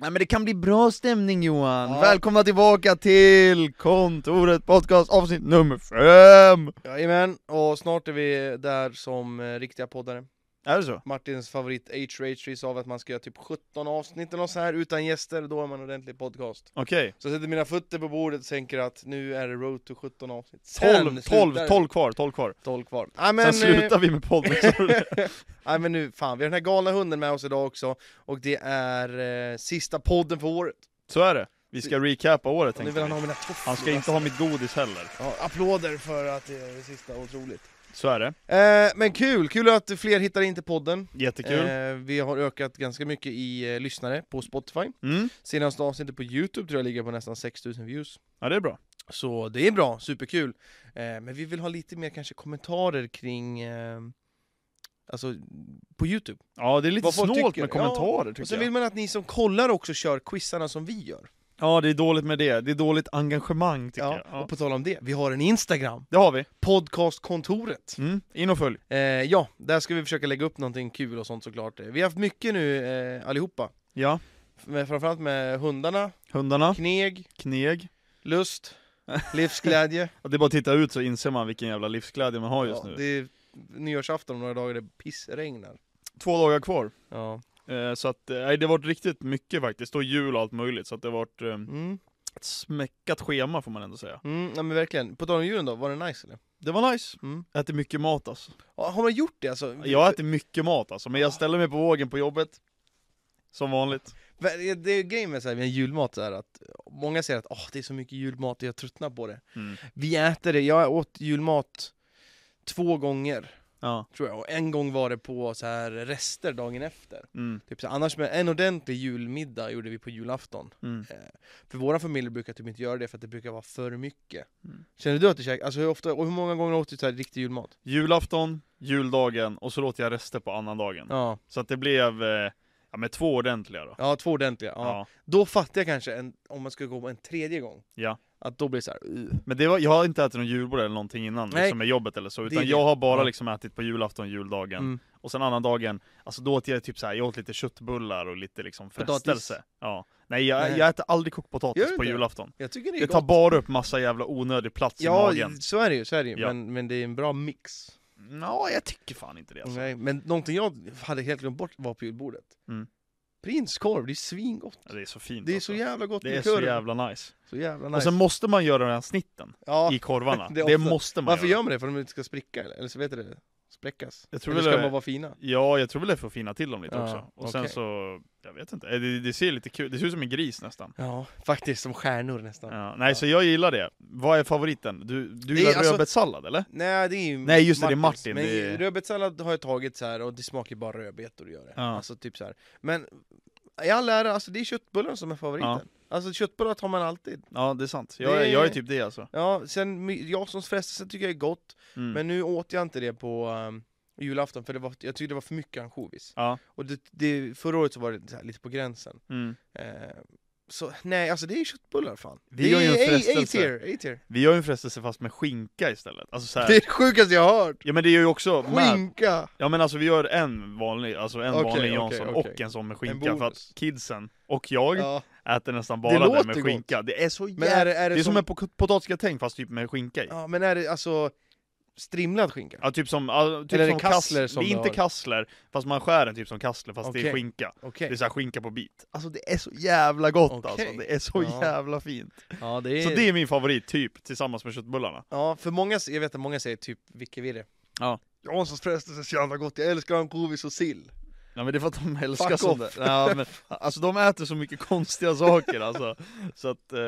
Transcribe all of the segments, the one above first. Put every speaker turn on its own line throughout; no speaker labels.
Nej men det kan bli bra stämning Johan! Välkomna tillbaka till kontoret podcast avsnitt nummer fem!
Jajamän, och snart är vi där som eh, riktiga poddare.
Är det så?
Martins favorit H-Rage sa att man ska göra typ 17 avsnitt eller något så här utan gäster, då är man en ordentlig podcast.
Okej,
Så jag sätter mina fötter på bordet och tänker att nu är det road to 17 avsnitt. Sen
12, 12,
slutar det.
12 kvar, 12 kvar.
12 kvar. Nej men,
Sen
eh,
slutar vi med podden. sa du.
nej men nu, fan, vi har den här galna hunden med oss idag också, och det är eh, sista podden för året.
så är det. Vi ska recapa året
Och nu
tänkte
vill han ha
vi.
mina tofflor.
Han ska inte ha mitt godis heller.
Ja, applåder för att det är det sista, otroligt.
Så är det.
Eh, men kul, kul att fler hittar in till podden.
Jättekul.
Eh, vi har ökat ganska mycket i eh, lyssnare på Spotify.
Mm.
Senaste avsnittet på Youtube tror jag ligger på nästan 6000 views.
Ja det är bra.
Så det är bra, superkul. Eh, men vi vill ha lite mer kanske kommentarer kring eh, Alltså på Youtube.
Ja det är lite
Vad folk
snålt
tycker.
med kommentarer
Och
tycker
sen
jag.
vill man att ni som kollar också kör quizarna som vi gör.
Ja det är dåligt med det, det är dåligt engagemang tycker
Ja,
jag. Ja.
Och på tal om det, vi har en Instagram,
Det har vi.
podcastkontoret.
Mm. In och följ.
Eh, ja, där ska vi försöka lägga upp någonting kul och sånt såklart. Eh, Vi har haft mycket nu eh, allihopa.
Ja.
F- men Framförallt med hundarna,
Hundarna,
kneg,
kneg.
lust, livsglädje.
Ja, Det är bara att titta ut så inser man vilken jävla livsglädje man har just
ja,
nu.
det är nyårsafton om några dagar det pissregnar.
Två dagar kvar.
Ja.
Eh, Så att, eh, nej, det har varit riktigt mycket faktiskt, och jul och allt möjligt, så att det har varit eh,
Mm.
ett smäckat schema får man ändå säga.
Mm, nej men verkligen. På tal om julen då, var det nice eller?
Det var nice.
Mm.
Jag äter mycket mat alltså.
Ja, Har man gjort det alltså?
Jag äter mycket mat alltså, men jag ställer mig på vågen på jobbet. Som vanligt.
Det- Det är grejen med, så här, med julmat så här att många säger att åh det är så mycket julmat och jag tröttnar på det.
Mm.
Vi äter det, jag åt julmat två gånger
Ja.
tror jag och en gång var det på så här rester dagen efter.
Mm.
Typ så här, annars med en ordentlig julmiddag gjorde vi på julafton.
Mm.
För våra familjer brukar typ inte göra det för att det brukar vara för mycket.
Mm.
Känner du att du käkar, alltså hur ofta, och hur många gånger åt du så här riktig julmat?
Julafton, juldagen, och så låter jag rester på annandagen.
Ja,
Så att det blev, eh, ja men två ordentliga då.
ja två ordentliga. Ja.
Ja.
Då fattar jag kanske, en, om man skulle gå på en tredje gång,
Ja.
att då blir det så här. "Ugh."
Men det var, jag har inte ätit någon julbord eller någonting innan,
Nej.
liksom med jobbet eller så,
Det är
utan
det.
jag har bara
Ja.
liksom ätit på julafton, juldagen.
Mm.
Och sen annan dagen, alltså då åt jag typ såhär, jag åt lite köttbullar och lite liksom
Potatis.
frestelse. Ja. Nej, jag,
Nej.
jag äter aldrig kokt
Gör
potatis
du
på
inte?
julafton.
Jag tycker det är
Det tar
gott.
bara upp massa jävla onödig plats i
Ja,
magen.
så är det ju, så är det ju.
Ja.
Men, men det är en bra mix.
Ja, jag tycker fan inte det alltså.
Nej, men någonting jag hade helt glömt bort var på julbordet.
Mm.
Prinskorv, det är svingott.
Det är så fint
Det är
alltså.
så jävla gott
det
med
är så
kurv.
jävla nice.
Så jävla nice.
Och sen måste man göra den här snitten
ja.
i korvarna.
Det
det,
är ofta-
måste man
Varför
göra.
gör man det? För att de inte ska spricka eller? Eller så vet du det? Spräckas?
Jag tror
eller
väl
ska
det-
man vara fina?
Ja, jag tror väl det är för att fina till dem lite
Ja,
också. Och sen
okej.
så, jag vet inte, Eh, det, det ser lite kul, det ser ut som en gris nästan.
Ja, faktiskt som stjärnor nästan.
Ja. Nej, så jag gillar det. Vad är favoriten? Du, du
Det är
gillar
alltså-
rödbetssallad eller?
Nej, det är ju
Nej, just det, det är
Martins.
Martin,
Men
det är-
rödbetssallad har jag tagit så här och det smakar ju bara rödbetor att göra det.
Ja.
Alltså typ så här. Men i all ära, alltså det är köttbullarna som är favoriten. Alltså köttbullar tar man alltid.
Ja, det är sant. Jag,
Det-
är- jag är typ det alltså.
Ja, sen my- Janssons frestelse tycker jag är gott,
Mm.
men nu åt jag inte det på ehm, julafton för det var, jag tyckte det var för mycket ansjovis.
Ja.
Och det, det, förra året så var det så här, lite på gränsen.
Mm.
Eh, så nej, alltså det är köttbullar fan.
Vi
det
gör ju
är
en
A-
frestelse.
A-tier, A-tier.
Vi gör ju en frestelse fast med skinka istället. Alltså så
Det är
här.
det sjukaste jag har hört!
Ja men det gör ju också med,
Skinka!
Ja men alltså vi gör en vanlig, alltså en
Okej,
vanlig
okej,
Jansson
okej.
och en sån med
En
skinka
bonus.
för att kidsen och jag
Ja.
äter nästan bara det
låter
med
gott.
skinka. Det är så jävla...
Men är det, är
det,
det,
är som
som,
en pot- potatisgratäng fast typ med skinka i. Ja.
Ja, men är det alltså strimlad skinka?
typ som, ja, typ
Eller är det
som
kassler som
det är
du
inte
har?
kassler, fast man skär den typ som kassler fast det är
Okej.
skinka.
Okej.
Det är såhär skinka på bit. Alltså det är så jävla gott
Okej.
alltså, det är så
Ja.
jävla fint.
Ja, det är...
Så det är min favorit typ, tillsammans med köttbullarna.
Ja, för många, jag vet att många säger typ Vicky Virre.
Ja.
Janssons frestelse är så jävla gott, jag älskar ansjovis och sill.
Ja men det är för att de älskar
Fuck
sånt där.
off.
Ja, men, alltså de äter så mycket konstiga saker alltså. Så att, eh,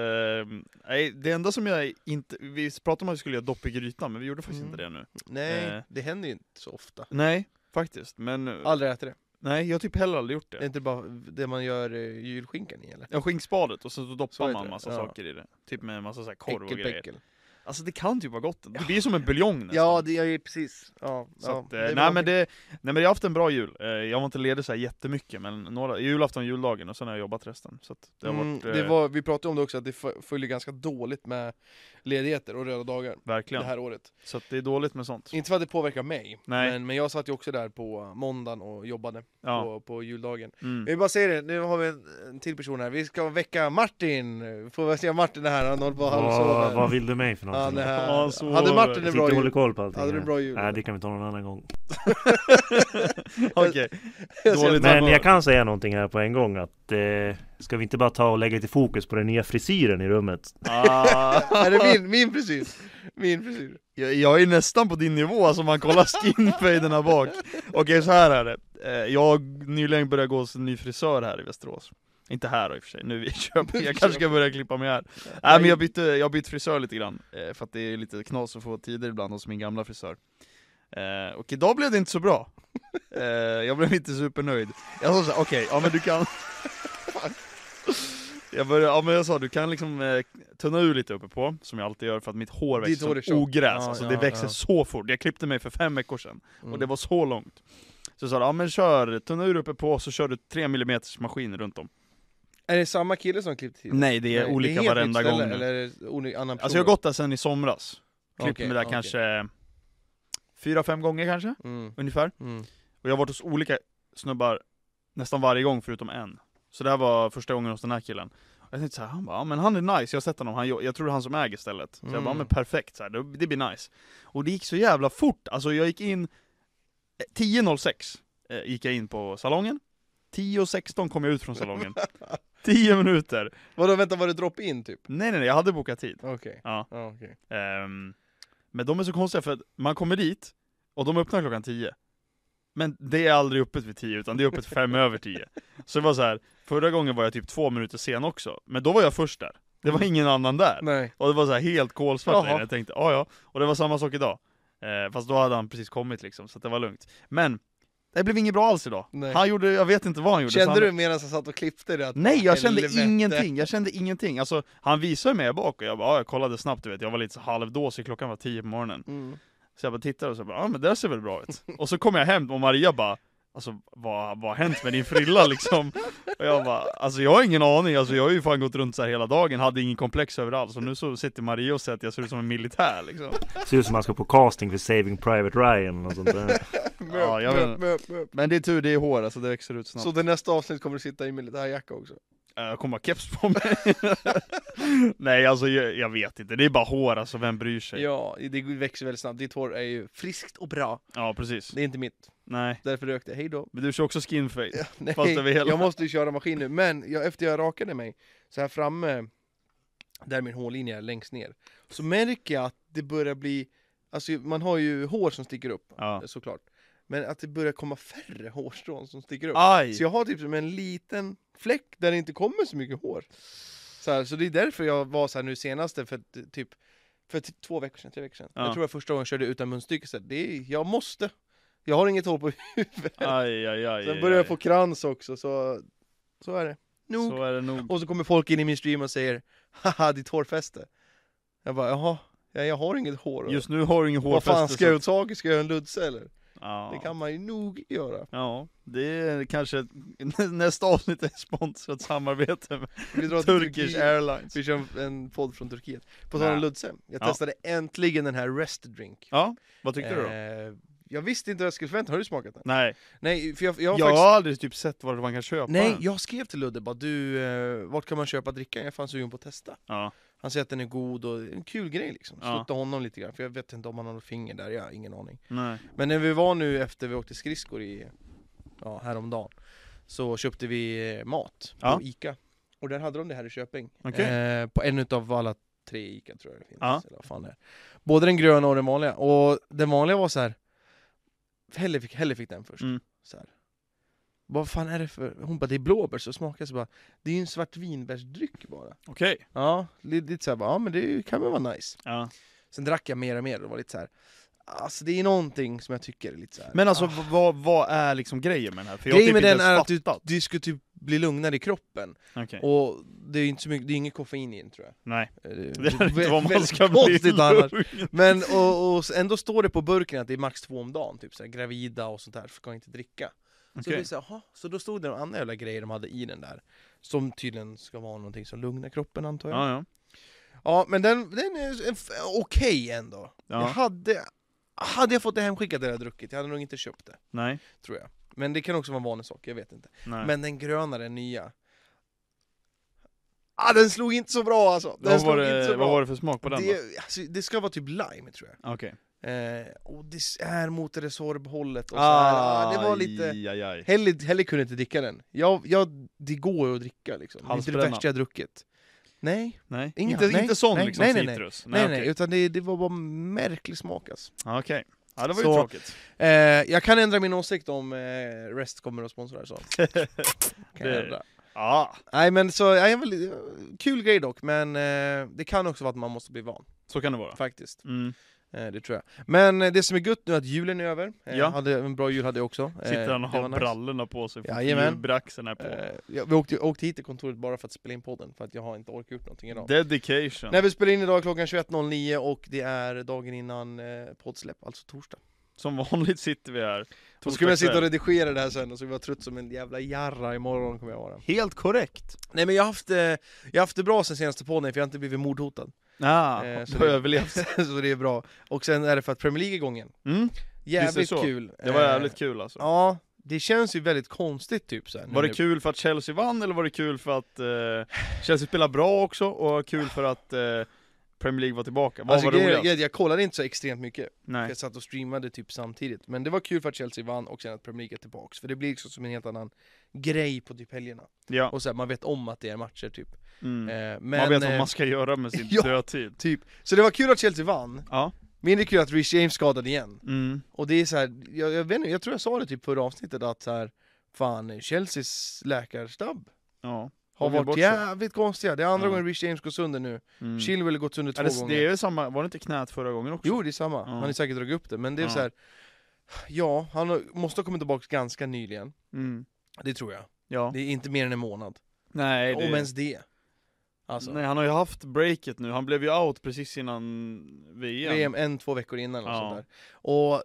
nej det enda som jag inte, vi pratade om att vi skulle göra dopp i grytan men vi gjorde faktiskt
Mm.
inte det nu.
Nej,
Eh.
det händer ju inte så ofta.
Nej, faktiskt. Men eh,
Aldrig äter det.
nej, jag har typ heller aldrig gjort
Det är
det.
inte bara det man gör eh, julskinkan i eller?
Ja skinkspadet och sen så doppar
Så heter
man
det,
massa
ja.
saker i det. Typ med en massa så här korv och grejer.
Äckelpäckel.
Alltså det kan typ vara gott, det blir som en buljong nästan.
Ja, det är ju precis. Ja,
Så
ja.
att,
Det
eh,
är väl
nej, men
någonting.
det, nej men jag har haft en bra jul. Eh, Jag var inte ledig så här jättemycket, men några, julafton, juldagen och sen har jag jobbat resten. Så att det har
Mm,
varit, eh,
det var, vi pratade om det också, att det fö- följer ganska dåligt med ledigheter och röda dagar
verkligen.
det här året.
Så att det är dåligt med sånt.
Inte för att det påverkar mig,
Nej.
men, men jag satt ju också där på måndagen och jobbade
Ja.
på, på juldagen.
Mm.
Vi bara säger det, nu har vi en, en till person här. Vi ska väcka Martin! Får vi se om Martin är här? Han håller på att halvsova.
Vad, vad vill du mig för någonting?
Han är
Ja, han
här.
sover.
Hade Martin
jag
en
sitter
bra
och håller
jul?
koll på allting.
Hade du en bra jul?
Nej, det kan vi ta någon annan gång.
Okej,
Jag ser
dåligt
att han
Men
har-
jag kan säga någonting här på en gång att eh, ska vi inte bara ta och lägga lite fokus på den nya frisyren i rummet?
ah,
Är det min, min frisyr? Min frisyr.
jag, jag är nästan på din nivå, alltså man kollar skinfaden här bak. Okej, så här är det. Eh, Jag har nyligen börjat gå som ny frisör här i Västerås. Inte här i och för sig, nu vi köper. Jag kanske ska börja klippa mig här. Nej men jag bytte, jag har bytt frisör lite grann, eh, för att det är lite knas att få tider ibland hos min gamla frisör. Eh, och idag blev det inte så bra. Eh, jag blev inte supernöjd. Jag sa såhär, okej, ja men du kan... Jag började, ja men jag sa du kan liksom eh, tunna ur lite uppe på som jag alltid gör för att mitt hår
Ditt
växer
hår är
som
tjockt.
ogräs,
Ja,
alltså
ja,
det växer
ja.
så fort. Jag klippte mig för fem veckor sedan, och det
Mm.
var så långt. Så jag sa ja men kör, tunna ur uppe på, så kör du 3 mm maskin runt om.
Är det samma kille som klippte till?
Nej det är
Nej,
olika
helt nytt
varenda
ställe,
gång nu.
Eller är det oni- annan person?
Alltså jag har gått där sedan i somras. Klippt
Okej,
mig där
okej.
kanske fyra, fem gånger kanske,
Mm,
ungefär.
mm.
Och jag har varit hos olika snubbar nästan varje gång förutom en. Så det här var första gången hos den här killen. Och jag tänkte så här, han bara, ja, men han är nice, jag har sett honom, han, jo- jag tror det är han som äger stället. Så jag bara,
Mm.
ja, men perfekt, så här, det, det blir nice. Och det gick så jävla fort, alltså jag gick in eh, 10.06 eh, gick jag in på salongen. 10.16 kom jag ut från salongen. 10 minuter!
Vadå vänta, var det drop-in typ?
Nej nej nej, jag hade bokat tid.
Okej.
Ja.
okej.
Ehm, men de är så konstiga för att man kommer dit och de öppnar klockan 10. Men det är aldrig öppet vid 10 utan det är öppet fem över 10. Så det var så här, förra gången var jag typ två minuter sen också, men då var jag först där. Det var ingen annan där.
Mm. Nej.
Och det var så här helt kolsvart där
Jaha.
inne. jag tänkte ja ja. Och det var samma sak idag. Eh, fast då hade han precis kommit liksom, så att det var lugnt. Men det blev inget bra alls idag.
Nej.
Han gjorde, jag vet inte vad han gjorde. så
Kände
han,
du medan jag satt och klippte det? Att,
Nej jag kände
helvete.
ingenting, jag kände ingenting. Alltså han visade mig bak och jag bara, ja, jag kollade snabbt du vet, jag var lite så halvdåsig, klockan var 10 på morgonen.
Mm.
Så jag bara tittade och så bara, ja men det ser väl bra ut. Och så kom jag hem och Maria bara, alltså vad, vad har hänt med din frilla liksom? Och jag bara, alltså jag har ingen aning, alltså jag har ju fan gått runt så här hela dagen, hade ingen komplex överallt. Så nu så sitter Maria och säger att jag ser ut som en militär liksom.
Ser ut som man ska på casting för Saving Private Ryan och sånt där.
Ja, jag
Möp,
vet.
möp, möp.
Men det är tur, det är hår alltså, det växer ut snabbt.
Så det nästa avsnitt kommer du sitta i militärjacka också?
Eh, Jag kommer ha keps på mig. Nej alltså jag, jag vet inte, det är bara hår alltså, vem bryr sig?
Ja, det växer väldigt snabbt. Ditt hår är ju friskt och bra.
Ja precis.
Det är inte mitt.
Nej.
Därför rök det. Hej då.
Men du kör också skinfade?
Ja, Nej,
Fast över hela.
jag måste ju köra maskin nu. Men jag, efter jag rakade mig, så här framme, där min hårlinje är längst ner, så märker jag att det börjar bli, alltså man har ju hår som sticker upp,
Ja.
såklart. Men att det börjar komma färre hårstrån som sticker upp.
Aj!
Så jag har typ som en liten fläck där det inte kommer så mycket hår. Så, här, så det är därför jag var så här nu senaste, för att, eh, typ för typ två veckor sedan, tre veckor sedan.
Ja.
Jag tror jag första gången körde utan munstycke, så här, det är, jag måste. Jag har inget hår på huvudet.
Aj, aj, aj,
Sen
aj,
börjar jag
aj.
få krans också, så så är det. Nog.
Så är det nog.
Och så kommer folk in i min stream och säger Haha, ditt hårfäste. Jag bara, jaha, jag, jag har inget hår.
Just nu har du ingen
Vad
hårfäste.
fan ska jag
så-
åt saker? Ska jag göra en ludse eller?
Ja.
Det kan man ju nog göra.
Ja, det är kanske nästa avsnitt är sponsrat samarbete med
Vi drar till
Turkish
Turkiet.
Airlines.
Vi kör en- en podd från Turkiet. På tal om
Nä.
ludse, jag
Ja.
testade äntligen den här rest drink.
Ja, vad tyckte du då?
Eh, Jag visste inte vad jag skulle förvänta mig. Har du smakat den?
Nej,
Nej, för jag, jag
jag har,
har faktiskt...
aldrig typ sett var man kan köpa
Nej,
den.
jag skrev till Ludde bara du, eh, vart kan man köpa drickan? Jag fanns sugen på att testa.
Ja.
Han säger att den är god och en kul grej liksom.
Ja.
Stötta honom lite grann, för jag vet inte om han har något finger där, jag har ingen aning.
Nej.
Men när vi var nu efter vi åkte skridskor i, ja häromdagen, så köpte vi eh, mat
Ja.
på Ica. Och där hade de det här i Köping.
Okej.
Eh, på en utav alla tre Ica tror jag det finns.
Ja.
Eller vad fan det är. Både den gröna och den vanliga. Och den vanliga var så här. Helle fick, Helle fick den först.
Mm.
Så här. Vad fan är det för... Hon bara, det är blåbär, så smakar så bara, det är ju en svart vinbärsdryck bara.
Okej.
Ja, lite lite så här, bara, ja men det kan väl vara nice.
Ja.
Sen drack jag mer och mer och det var lite så här. Alltså det är någonting som jag tycker är lite så här.
Men alltså
ah.
vad, vad är liksom grejen med den här? För jag
grejen
typ
med
inte
den
ens
är att du,
fattat.
du ska typ blir lugnare i kroppen.
Okej,
Och det är ju inte så mycket, det är inget koffein i den tror jag.
nej.
Eh, Det
Det är inte vad man
väldigt
ska bli
konstigt annars.
lugn.
Men och, och ändå står det på burken att det är max två om dagen, typ så här, gravida och sånt där, ska inte dricka. Så, det
Okej.
är så, här, "Jaha." så då stod det några andra jävla grejer de hade i den där, som tydligen ska vara någonting som lugnar kroppen antar jag. Ja,
Ja, ja.
men den, den är en f- okej ändå. Jag
ja.
hade, hade jag fått det hemskickat det jag hade druckit, jag hade nog inte köpt det,
Nej,
tror jag. Men det kan också vara en vanlig sak, jag vet inte.
nej.
Men den gröna, den nya. Ah, den slog inte så bra alltså! Den
vad,
slog
var
inte
det,
så
vad
bra.
var det för smak på den då?
det, alltså, det ska vara typ lime tror jag.
Okej.
Eh, och det är mot Resorb-hållet och så här. Ah, det var lite...
Aj, aj, aj.
Heller, heller kunde inte dricka den. Jag, jag, det går ju att dricka liksom. Det är inte det
Halsbränna.
värsta jag druckit. Nej,
Nej.
Inga,
inte,
nej,
inte sån
nej,
liksom
nej, nej, nej.
citrus?
nej, nej,
okej.
utan det, det var bara märklig smak alltså.
Ja, Okej. Ja, det var ju
Så-
tråkigt.
eh, Jag kan ändra min åsikt om eh, Rest kommer att sponsra så. Kan jag
Det-
ändra.
Ja,
Nej men så, ja, en väldigt, kul grej dock, men eh, det kan också vara att man måste bli van,
så kan det vara.
faktiskt.
Mm.
Eh, Det tror jag. Men eh, det som är gött nu är att julen är över. Eh,
Ja.
Hade, en bra jul hade jag också. Eh,
Sitter han och
det
har
var nice.
brallorna på sig, för
Jajamän.
julbraxen är på.
Eh, ja, vi åkte, åkte hit till kontoret bara för att spela in podden, för att jag har inte orkat gjort någonting idag.
Dedication.
När vi spelar in idag är klockan 21.09 och det är dagen innan eh, poddsläpp, alltså torsdag.
Som vanligt sitter vi här.
Då skulle jag sitta och
torsdagskväll.
redigera det här sen och så kommer jag vara trött som en jävla jarra imorgon kommer jag vara.
Helt korrekt.
Nej men jag har haft, eh, jag har haft det bra sen senaste podden för jag har inte blivit mordhotad.
Ja,
Eh, så
du har
det-
överlevt.
så det är bra. Och sen är det för att Premier League är igång
Mm.
Jävligt
så.
kul.
Det var
Eh,
jävligt kul alltså.
Ja, det känns ju väldigt konstigt typ sen.
Var det kul för att Chelsea vann eller var det kul för att eh, Chelsea spelade bra också och kul för att eh, Premier League var tillbaka? Vad
Alltså,
var roligast?
jag, jag, jag kollade inte så extremt mycket, för
Nej.
jag satt och streamade typ samtidigt. Men det var kul för att Chelsea vann och sen att Premier League är tillbaks. För det blir liksom som en helt annan grej på typ helgerna.
Ja.
Och så här, man vet om att det är matcher typ.
Mm.
Eh, men,
man vet vad
eh,
man ska göra med sin
ja.
dödtid.
typ. Så det var kul att Chelsea vann,
Ja.
mindre kul att Rich James skadade igen.
Mm.
Och det är så här, jag, jag vet inte, jag tror jag sa det typ förra avsnittet att så här, fan Chelseas läkarstab
ja.
har
Och vi
varit
bort sig.
jävligt konstiga. Det är andra
Ja.
gången Rich James går sönder nu.
Mm.
Chilwell har gått sönder två
Är det,
gånger.
det är ju samma, var det inte knät förra gången också?
Jo, det är samma.
Ja.
Han har säkert dragit upp det, men det är
Ja.
så här. Ja, han har- måste ha kommit tillbaka ganska nyligen.
Mm.
Det tror jag.
Ja.
Det är inte mer än en månad.
Nej, det...
Om ens det. Alltså,
Nej, han har ju haft breaket nu. Han blev ju out precis innan VM.
VM en, två veckor innan och
Ja.
sånt där. Och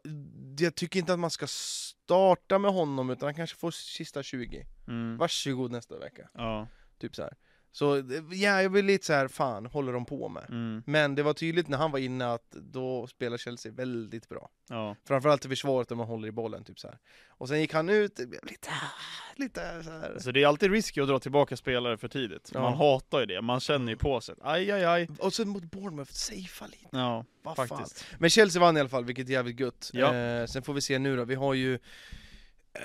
det- jag tycker inte att man ska starta med honom, utan han kanske får sista 20.
Mm.
Varsågod nästa vecka.
Ja.
Typ så här. Så ja, jag blir lite så här, fan, håller de på med?
Mm.
Men det var tydligt när han var inne att då spelar Chelsea väldigt bra.
Ja.
Framförallt i försvaret där man håller i bollen, typ så här. Och sen gick han ut, det blev lite, lite så här.
Så det är alltid risky att dra tillbaka spelare för tidigt.
Ja.
Man hatar ju det. Man känner ju på sig. Aj, aj, aj.
Och sen mot Bournemouth, safea lite,
Ja,
vad Ah, fan.
faktiskt.
Men Chelsea vann i alla fall, vilket är jävligt gött.
Ja.
Eh, sen får vi se nu då, vi har ju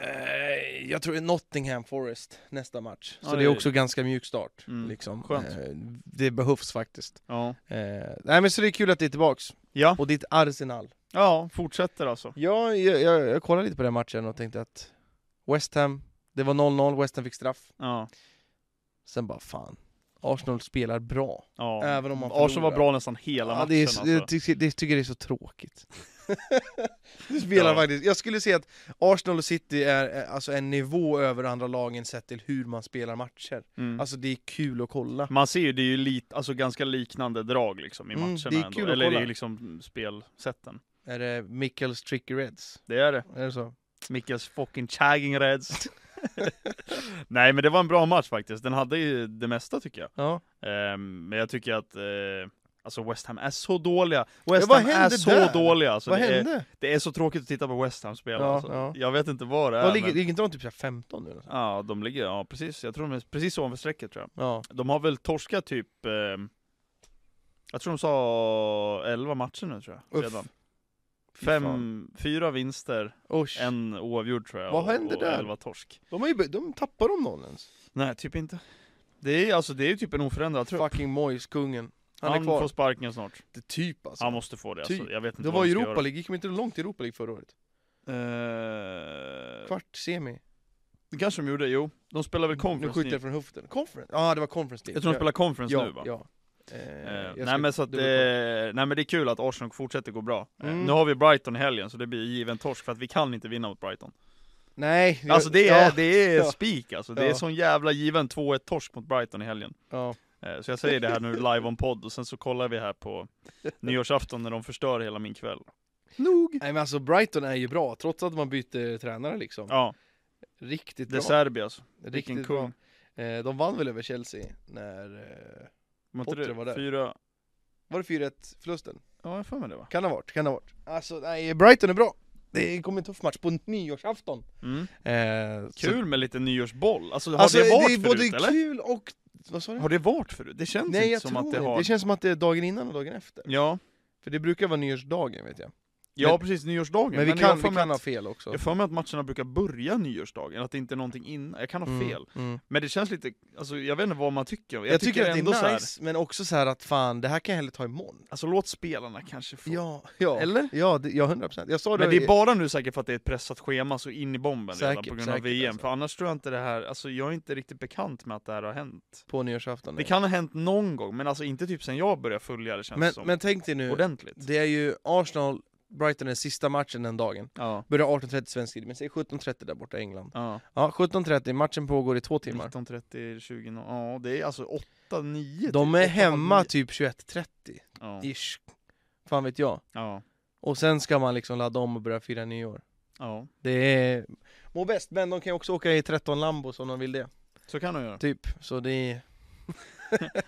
eh, jag tror det är Nottingham Forest nästa match,
Ja,
så
det
det är
är
också ganska mjuk start.
Mm,
Liksom.
skönt.
Eh, det behövs faktiskt.
Ja.
Eh, nej men så det är kul att det är tillbaks,
Ja.
och ditt Arsenal.
ja, fortsätter alltså.
Ja, jag, jag, jag kollade lite på den matchen och tänkte att West Ham, det var 0-0, West Ham fick straff.
Ja.
Sen bara fan, Arsenal spelar bra.
Ja.
Även om man
Arsenal var
förlorar.
bra nästan hela
Ja,
matchen
det, är,
alltså.
det, tycker, det tycker jag är så tråkigt. det spelar
Ja.
faktiskt. Jag skulle säga att Arsenal och City är eh, alltså en nivå över andra lagen sett till hur man spelar matcher.
Mm.
Alltså det är kul att kolla.
Man ser ju, det är ju lite, alltså ganska liknande drag liksom i
Mm,
matcherna
det är kul
ändå.
att
Eller det är
kolla.
ju liksom spelsätten.
Är det Mikkels Tricky Reds?
Det är det.
Är det så?
Mikkels fucking tagging reds. Nej men det var en bra match faktiskt. Den hade ju det mesta tycker jag.
Ja.
Ehm, men jag tycker att eh, alltså West Ham är så dåliga. West
vad
Ham är
hände
så
där?
dåliga. Alltså,
Vad
det, är,
hände?
det är så tråkigt att titta på West Ham spela.
Ja,
alltså.
ja.
Jag vet inte vad det är.
Vad ligger,
men-
ligger inte de typ så här 15 nu? eller så?
Ja, de ligger, ja precis. Jag tror de är precis ovanför strecket tror jag.
Ja.
De har väl torskat typ, ehm, jag tror de sa 11 matcher nu tror jag.
Uff,
Redan.
fy fan.
Fem, fyra vinster,
Usch.
en oavgjord tror jag.
Vad
och-
händer
och
där?
11 torsk.
De, har ju, de tappar de någon ens?
Nej, typ inte. Det är ju alltså, det är ju typ en oförändrad trupp.
Fucking Moyes, kungen. Han,
Han,
är kvar.
får sparken snart.
Det är typ alltså.
Han måste få det alltså.
Typ.
Jag vet inte
Det
vad
var
de
ju
ska
Europa
göra.
League, gick de inte långt i Europa League förra året?
Eh,
Kvart, semi?
det kanske de gjorde, jo. De spelar väl
Nu
Conference
skjuter
nu?
jag från höften. Conference? Ja, ah, det var Conference League.
Jag tror de spelar Conference
ja,
nu va?
Ja.
Eh,
Eh, jag
nej,
ska-
men så att, eh,
dubbelkolla.
nej men det är kul att Arsenal fortsätter gå bra. Eh,
Mm.
Nu har vi Brighton i helgen så det blir given torsk för att vi kan inte vinna mot Brighton.
Nej. jag-
Alltså det är,
Ja,
det är
Ja.
spik alltså, det är
Ja.
sån jävla given 2-1 torsk mot Brighton i helgen.
ja.
Eh, Så jag säger det här nu live on podd och sen så kollar vi här på nyårsafton när de förstör hela min kväll. Nog!
Nej men alltså Brighton är ju bra, trots att man byter tränare liksom.
Ja,
Riktigt
det är
bra.
Serbi alltså. Vilken
Riktigt
kung.
bra. Eh, de vann väl över Chelsea när... Eh,
Var inte
Potter
det
var där.
Fyra...
var det 4-1 förlusten?
Ja, jag har för mig det va?
Kan ha varit, kan ha varit. Alltså nej, Brighton är bra. Det kommer en tuff match på nyårsafton.
Mm.
Eh, så-
Kul med lite nyårsboll. Alltså har
Alltså
det varit
det är
förut
både
eller?
kul och... Vad sa du?
Har det varit förut? Det känns
Nej
inte
jag
som
tror
att det
inte.
har...
Det känns som att det är dagen innan och dagen efter.
Ja,
För det brukar vara nyårsdagen vet jag.
ja
Men-
precis, nyårsdagen.
Men, vi
jag har
kan, vi
för mig
kan ha
att-
fel också.
jag har för mig att matcherna brukar börja nyårsdagen, att det inte är någonting innan. Jag kan ha
Mm,
fel.
mm.
Men det känns lite, alltså jag vet inte vad man tycker. Jag,
Jag, tycker, att
ändå
det
så
är
här,
nice, men också så här att fan, det här kan jag hellre ta imorgon.
alltså låt spelarna kanske få...
Ja, ja.
Eller?
Ja, det, ja 100%. Jag sa det,
Men det är bara nu säkert för att det är ett pressat schema så in i bomben redan
Säkert,
på grund av
säkert,
VM.
alltså.
För annars tror jag inte det här, alltså jag är inte riktigt bekant med att det här har hänt.
på nyårsafton.
Det kan ha hänt någon gång, men alltså inte typ sen jag började följa det känns
men,
som.
men tänk dig nu,
ordentligt.
det är ju Arsenal, Brighton är sista matchen den dagen.
Ja,
Börjar 18.30 svensk tid, men säg 17.30 där borta i England.
ja.
Ja, 17.30, matchen pågår i två timmar.
19.30, 20, nå- ja det är alltså 8, 9
De är hemma typ 21.30,
Ja,
ish. Fan vet jag.
ja,
Och sen ska man liksom ladda om och börja fira nyår.
ja.
Det är... Må bäst, men de kan ju också åka i 13 Lambos om de vill det.
Så kan de göra.
Typ, så det är...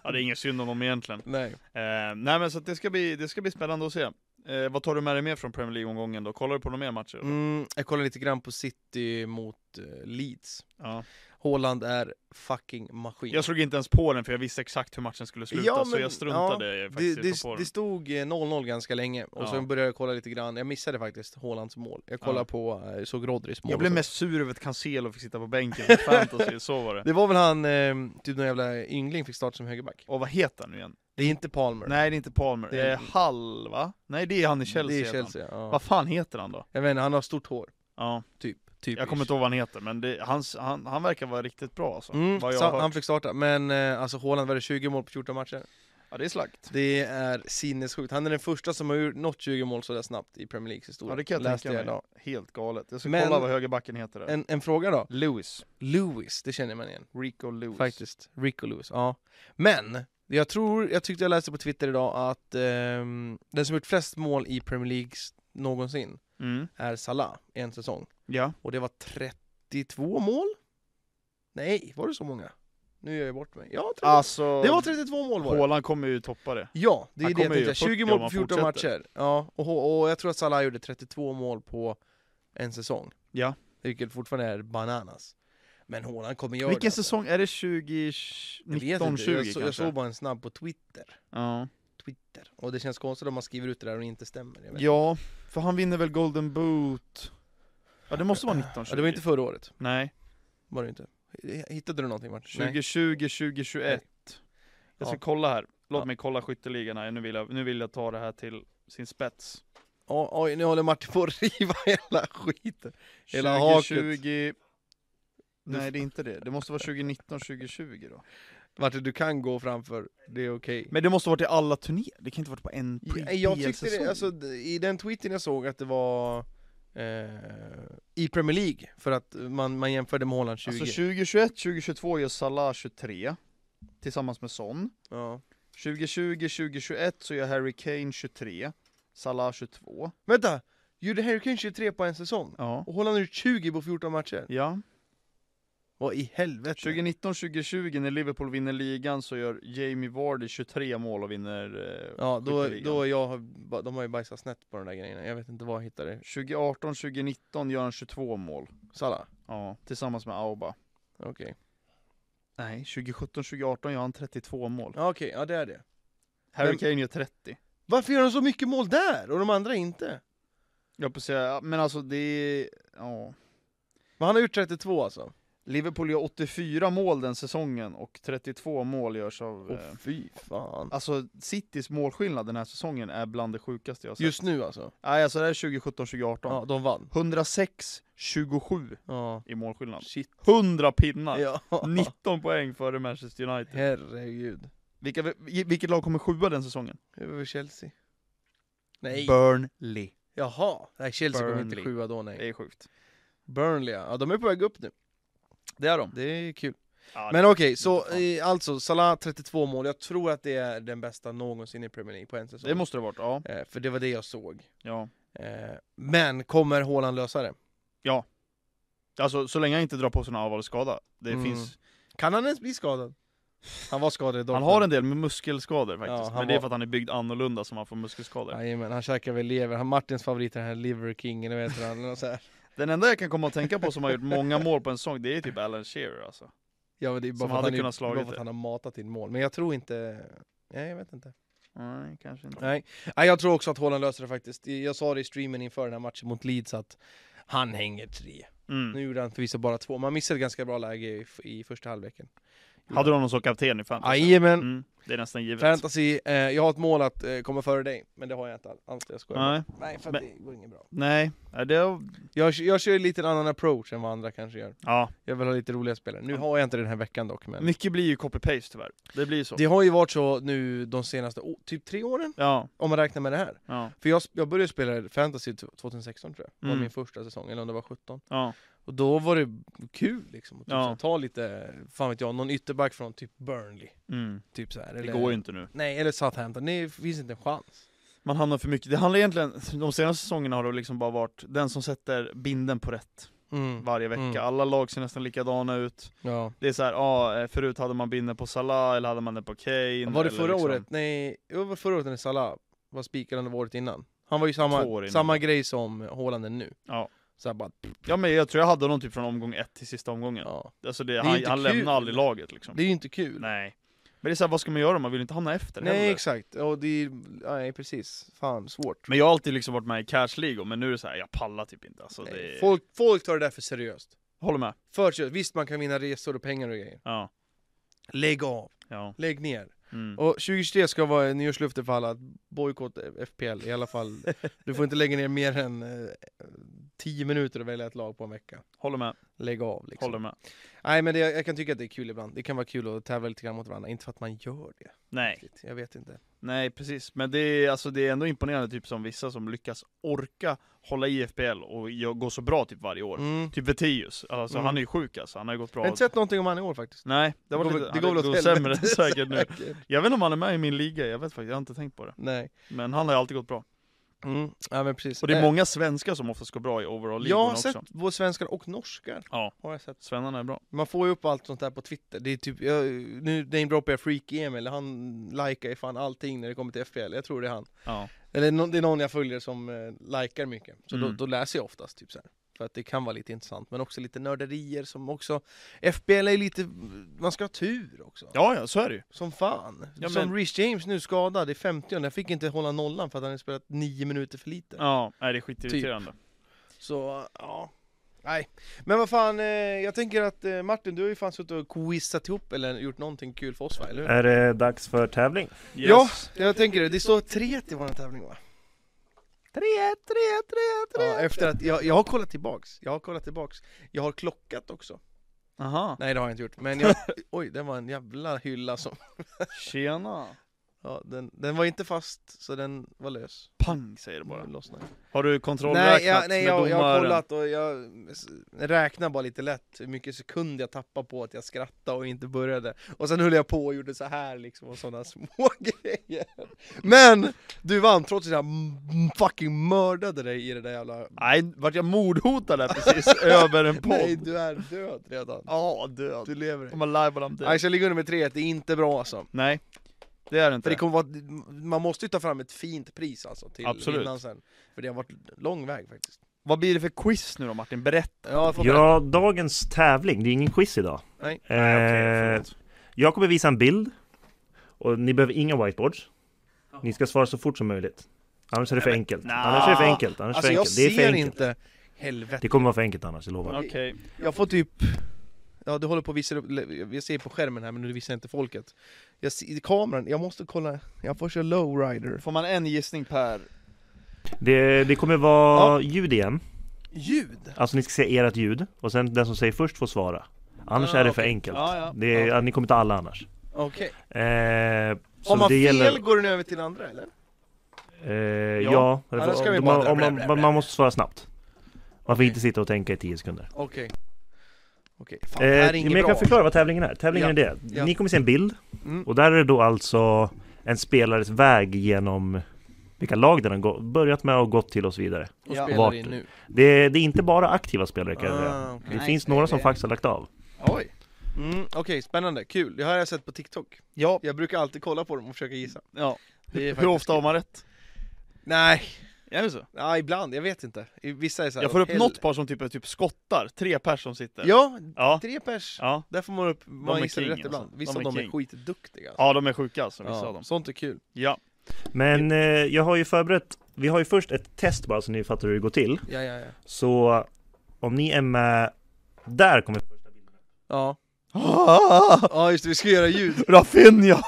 Ja, det är ingen synd om dem egentligen.
Nej.
Eh, nej men så att det ska bli, det ska bli spännande att se. Eh, vad tar du med dig mer från Premier League-omgången då? Kollar du på några mer matcher? då?
Mm, jag kollar lite grann på City mot eh, Leeds.
Ja.
Haaland är fucking maskin.
Jag slog inte ens på den för jag visste exakt hur matchen skulle sluta,
Ja,
så
men-
jag struntade
det,
faktiskt i att ta på
det,
den.
det stod eh, 0-0 ganska länge och
Ja.
så började jag kolla lite grann. Jag missade faktiskt Haalands mål. Jag kollade
Ja.
på, eh, såg Rodris mål.
Jag blev
och så.
mest sur över att Cancelo fick sitta på bänken för fantasy, så var det.
Det var väl han, eh, typ någon jävla yngling fick start som högerback.
Och vad heter han nu igen?
Det är inte Palmer.
Nej det är inte Palmer,
Det är-
eh, Hall va? Nej det är han i Chelsea,
det är
heter han.
Chelsea. Ja.
Vad fan heter han då?
Jag vet inte, han har stort hår.
Ja,
Typ. typ
jag kommer inte ihåg vad han heter, men det, hans, han, han verkar vara riktigt bra alltså.
Mm,
vad jag
så
har hört.
han fick starta, men eh, alltså Haaland var det 20 mål på 14 matcher.
Ja det är slakt.
Det är sinnessjukt. Han är den första som har gjort nått 20 mål sådär snabbt i Premier Leagues historia.
Ja det kan jag
Läste
tänka mig.
idag.
Helt galet. Jag ska
Men-
kolla vad högerbacken heter där.
En, en fråga då.
Lewis.
Lewis, det känner man igen.
Rico Lewis.
Faktiskt. Rico Lewis, ja. Men, jag tror, jag tyckte jag läste på Twitter idag att ehm, den som gjort flest mål i Premier League någonsin
Mm.
är Salah i en säsong.
Ja.
Och det var 32 mål? Nej, var det så många? Nu gör jag bort mig. Ja, 30.
Alltså,
det var 32 mål var det.
Haaland kommer ju toppa det.
Ja, det är
Han
det jag
kommer ju
tänkte. 20
40
mål
om
på
han
14
fortsätter.
matcher. Ja, och, och jag tror att Salah gjorde 32 mål på en säsong.
Ja.
Vilket fortfarande är bananas. Men Haaland kommer göra det.
Vilken
alltså.
säsong? Är det 20...
Jag vet inte.
19, 20
jag, så,
kanske?
jag såg bara en snabb på Twitter.
ja.
Twitter. Och det känns konstigt om man skriver ut det där och det inte stämmer. Jag vet.
ja, för han vinner väl Golden Boot? Ja det måste vara 19, 20.
Ja, det var inte förra året.
Nej,
Var det inte. Hittade du någonting Martin? Nej.
2020, 2021. Jag ska
Ja.
kolla här. Låt
Ja.
mig kolla skytteligan här. Nu vill, jag, nu vill jag ta det här till sin spets.
Oj, oj, nu håller Martin på att riva hela skiten. Hela
2020... Nej det är inte det. Det måste vara 2019, 2020 då.
Martin, du kan gå framför. Det är okej.
Men det måste varit i alla turnéer, det kan inte varit på en
Ja,
pre-
Jag tyckte
PL-säsong.
det, alltså d- i den tweeten jag såg att det var eh, i Premier League, för att man, man jämförde med Haaland 20.
Alltså 2021, 2022 gör Salah 23 tillsammans med Son.
ja.
2020, 2021 så gör Harry Kane 23, Salah 22.
Vänta! Gjorde Harry Kane 23 på en säsong?
Ja.
Och Haaland har gjort 20 på 14 matcher?
Ja.
Vad i helvete?
2019, 2020 när Liverpool vinner ligan så gör Jamie Vardy 23 mål och vinner eh,
Ja, då,
skytteligan.
då jag, har- ba- de har ju bajsat snett på de där grejerna. Jag vet inte vad jag hittade.
2018, 2019 gör han 22 mål.
Salah?
Ja, tillsammans med Auba.
Okej.
Nej, 2017, 2018 gör han 32 mål.
Ja, okej. Ja, det är det.
Harry
Men-
Kane gör 30.
Varför gör de så mycket mål där och de andra inte?
Jag på att säga, men alltså det är, ja.
Men han har gjort 32 alltså.
Liverpool gör 84 mål den säsongen och 32 mål görs av...
Åh
eh,
fy fan.
alltså Citys målskillnad den här säsongen är bland det sjukaste jag har sett.
Just nu alltså?
Nej alltså det här är 2017-2018.
Ja, de vann.
106-27
Ja.
i målskillnad.
Shit.
100 pinnar!
Ja.
19 poäng före Manchester United.
Herregud.
Vilka, vilket lag kommer sjua den säsongen?
Det var väl Chelsea? Nej.
Burnley.
Jaha. Nej, Chelsea kommer
Burnley.
inte sjua då, nej.
Det är sjukt.
Burnley, ja. ja de är på väg upp nu.
Det är de.
Det är kul.
Ja,
Men okej, så
fan.
eh, alltså Salah 32 mål, jag tror att det är den bästa någonsin i Premier League på en säsong.
det måste det ha varit, ja.
Eh, för det var det jag såg.
ja.
Eh, men kommer Haaland lösa det?
Alltså så länge han inte drar på sig någon allvarlig skada. Det
Mm.
finns...
Kan han ens bli skadad? Han var skadad i
Han
Dortmund.
har en del muskelskador
Ja,
faktiskt.
han
men det är
var-
för att han är byggd annorlunda som han får muskelskador.
Jajamän, han käkar väl lever. Han Martins favorit är den här Liver King, eller vad heter han? Eller så här.
Den enda jag kan komma att tänka på som har gjort många mål på en säsong, det är typ Alan Shearer alltså.
Ja, men det är bara
Som
för att
hade
han, är-
kunnat slagit
bara för
det.
att han har matat in mål. Men jag tror inte... Nej, jag vet inte.
Nej, kanske inte.
Nej. Nej, jag tror också att Haaland löser det faktiskt. Jag sa det i streamen inför den här matchen mot Leeds att han hänger tre.
Mm.
Nu gjorde han förvisso bara två, men han missade ett ganska bra läge i, i första halvleken.
Hade du honom som kapten i fantasy?
Jajamän!
Mm, det är nästan givet.
Fantasy, eh, jag har ett mål att eh, komma före dig, men det har jag inte alls. Allt jag skojar bara.
Nej,
Nej, för att
Men-
det går inget bra.
nej. Ja, Det,
Jag, jag kör lite en annan approach än vad andra kanske gör.
ja.
Jag vill ha lite roliga spelare. Nu har jag inte den här veckan dock, men...
Mycket blir ju copy-paste tyvärr. Det blir så.
Det har ju varit så nu de senaste, å- typ tre åren,
Ja,
om man räknar med det här.
ja,
För jag, sp- jag började spela fantasy t- 2016 tror jag, var
Mm.
min första säsong, eller om det var 17.
ja.
Och då var det kul liksom, att typ
Ja.
så här, ta lite, fan vet jag, någon ytterback från typ Burnley.
Mm.
Typ så här,
Det
eller,
går ju inte nu.
Nej, eller Southampton, det finns inte en chans.
Man hamnar för mycket. Det handlar egentligen, de senaste säsongerna har det liksom bara varit den som sätter binden på rätt
Mm.
varje vecka.
Mm.
Alla lag ser nästan likadana ut.
Ja.
Det är så här, ja, eh, förut hade man binden på Salah, eller hade man den på Kane.
Var det
eller
förra
liksom-
året? Nej, det var förra året när Salah var spikad under året innan. Han var ju samma,
Två år innan.
samma grej som Haaland är nu.
Ja.
Så här, bara,
liksom- Ja men jag tror jag hade honom typ från omgång ett till sista omgången.
ja.
Alltså det,
är
han,
inte
han
kul.
lämnar aldrig laget liksom.
Det är ju inte kul.
Nej. Men det är så här, vad ska man göra? Man vill inte hamna efter
Nej
heller.
exakt, och det är, nej precis, fan svårt.
Men jag har alltid liksom varit med i cashligor, men nu är det så här, jag pallar typ inte. Alltså, det...
Nej, folk, folk tar det där för seriöst.
Håller med.
För seriöst, visst man kan vinna resor och pengar och grejer.
Ja.
Lägg av,
Ja.
lägg ner.
Mm.
Och 2023 ska vara nyårslöfte för alla, att bojkotta FPL i alla fall. Du får inte lägga ner mer än eh, 10 minuter och välja ett lag på en vecka.
Håller med.
Lägg av liksom.
Håller med.
Nej men det, jag kan tycka att det är kul ibland, det kan vara kul att tävla lite grann mot varandra, inte för att man gör det.
Nej.
riktigt. Jag vet inte.
Nej, precis. Men det är, alltså, det är ändå imponerande typ som vissa som lyckas orka hålla i FPL och gö- gå så bra typ varje år.
Mm.
Typ Vettius. Alltså
Mm.
han är ju sjuk alltså. Han har ju gått
Jag
bra.
har inte sett någonting om han i år faktiskt.
Nej, det var
går
lite,
väl-
det
det
går,
går väl åt
sämre
helvete,
säkert nu.
Säkert.
Jag vet inte om han är med i min liga, jag vet faktiskt, jag har inte tänkt på det.
Nej.
Men han har ju alltid gått bra.
Mm. Ja men precis.
Och det är
Eh,
många svenskar som oftast går bra i overall
Jag har
ligorna
sett
också.
både svenskar och norskar.
Ja.
Har jag sett.
Svennarna är bra.
Man får ju upp allt sånt där på Twitter. Det är typ, jag, nu namedroppar jag Freak Emil, han likar ju fan allting när det kommer till FPL. Jag tror det är han.
Ja.
Eller nå- det är någon jag följer som eh, likar mycket. Så då,
Mm.
då läser jag oftast typ så här. För att det kan vara lite intressant, men också lite nörderier som också... FPL är lite... Man ska ha tur också.
ja, ja, så är det ju.
Som fan.
Ja,
Som
men-
Rich James nu skadad i 50 Jag fick inte hålla nollan för att han hade spelat 9 minuter för lite.
Ja, nej, det är skitirriterande.
Typ. Så, ja. Nej. Men vad fan, eh, jag tänker att eh, Martin, du har ju fan suttit och quizat ihop eller gjort någonting kul för oss va, eller hur?
Är det dags för tävling?
Eh, Yes.
Ja, jag tänker det. Det står 3-1 i vår tävling va?
3, 3, 3,
Ja, efter att, jag, jag har kollat tillbaks. Jag har kollat tillbaks. Jag har klockat också.
Aha.
Nej, det har jag inte gjort. Men jag, oj, den var en jävla hylla som...
Tjena.
Ja, den, den var inte fast, så den var lös.
Pang säger det bara.
Den lossnade.
Har du kontrollräknat
Nej, jag, nej
med
jag, jag har
domaren?
kollat och jag s- räknar bara lite lätt hur mycket sekund jag tappar på att jag skrattade och inte började. Och sen höll jag på och gjorde så här liksom och sådana små grejer. Men du vann trots att jag m- fucking mördade dig i det där jävla...
Nej, vart jag mordhotad där precis över en
Nej,
podd?
du är död redan.
Ja, död.
Du lever inte.
I'm alive but I'm
Nej,
dead.
så jag ligger under med 3 det är inte bra alltså.
Nej, det är det
För
inte.
det kommer vara, man måste ju ta fram ett fint pris alltså till
Absolut.
innan sen. För det har varit lång väg faktiskt.
Vad blir det för quiz nu då Martin? Berätta.
Ja, jag får
Ja, dagens tävling, det är ingen quiz idag.
Nej.
Eh,
Nej, okej, förlåt.
jag kommer visa en bild. Och ni behöver inga whiteboards. Ni ska svara så fort som möjligt. Annars är det för enkelt.
nja.
Annars är det för enkelt. Annars är
Alltså
det för
jag
enkelt. Det
ser
är för enkelt.
inte. Helvete.
Det kommer vara för enkelt annars, jag lovar.
Okej.
Jag får typ... Ja, du håller på att visa upp... Jag ser på skärmen här, men nu visar inte folket. Jag ser, kameran, jag måste kolla... Jag får köra lowrider.
Får man en gissning per?
Det, det kommer vara ljud igen.
Ljud!
Alltså ni ska säga ert ljud. Och sen den som säger först får svara. Annars
Ah,
är det för
okej.
enkelt.
Ja, ja.
Det är,
Ja.
ja, ni kommer ta alla annars.
Okej.
Eh, så
Om man
det
fel
gäller,
går den över till andra, eller?
eh, ja,
Ja.
det
Annars
får-
kan vi
om
bara
man, om
blä,
man,
blä, blä, blä.
man måste svara snabbt. Man får inte sitta och tänka i 10 sekunder.
Okej. Okej, fan det
Eh,
här är
men
inget
jag
bra.
kan förklara vad tävlingen är. Tävlingen
Ja,
är det.
ja.
Ni kommer se en bild
Mm.
och där är det då alltså en spelares väg genom vilka lag den har gå- börjat med och gått till och så vidare.
Och
Ja.
spelar
Vart?
in nu.
Det, det är inte bara aktiva spelare kan jag säga.
Ah, okej.
Det
Nej,
finns
det
några
är
som
det.
faktiskt har lagt av.
Oj. Mm, Okej, spännande, kul. Det här har jag sett på TikTok.
Ja,
Jag brukar alltid kolla på dem och försöka gissa.
ja.
Det är
Hur ofta har
kul.
man rätt?
Nej,
Är det så?
ja, ibland. Jag vet inte. I- Vissa är så här,
Jag får upp
"Åh,
något par som typ är typ skottar, tre pers som sitter.
hel-" Ja,
Ja,
tre pers.
ja.
Där får man upp, man
är
gissar
king,
rätt ibland.
alltså.
Vissa
De
av
är
dem är
king.
skitduktiga. alltså.
ja de är sjuka alltså, vissa av dem.
sånt är kul.
Ja.
Men eh, jag har ju förberett, vi har ju först ett test bara så ni fattar hur det går till.
Ja, ja, ja.
Så om ni är med, där kommer
Ja,
Ah,
ja just det, vi ska göra ljud.
Rafinha!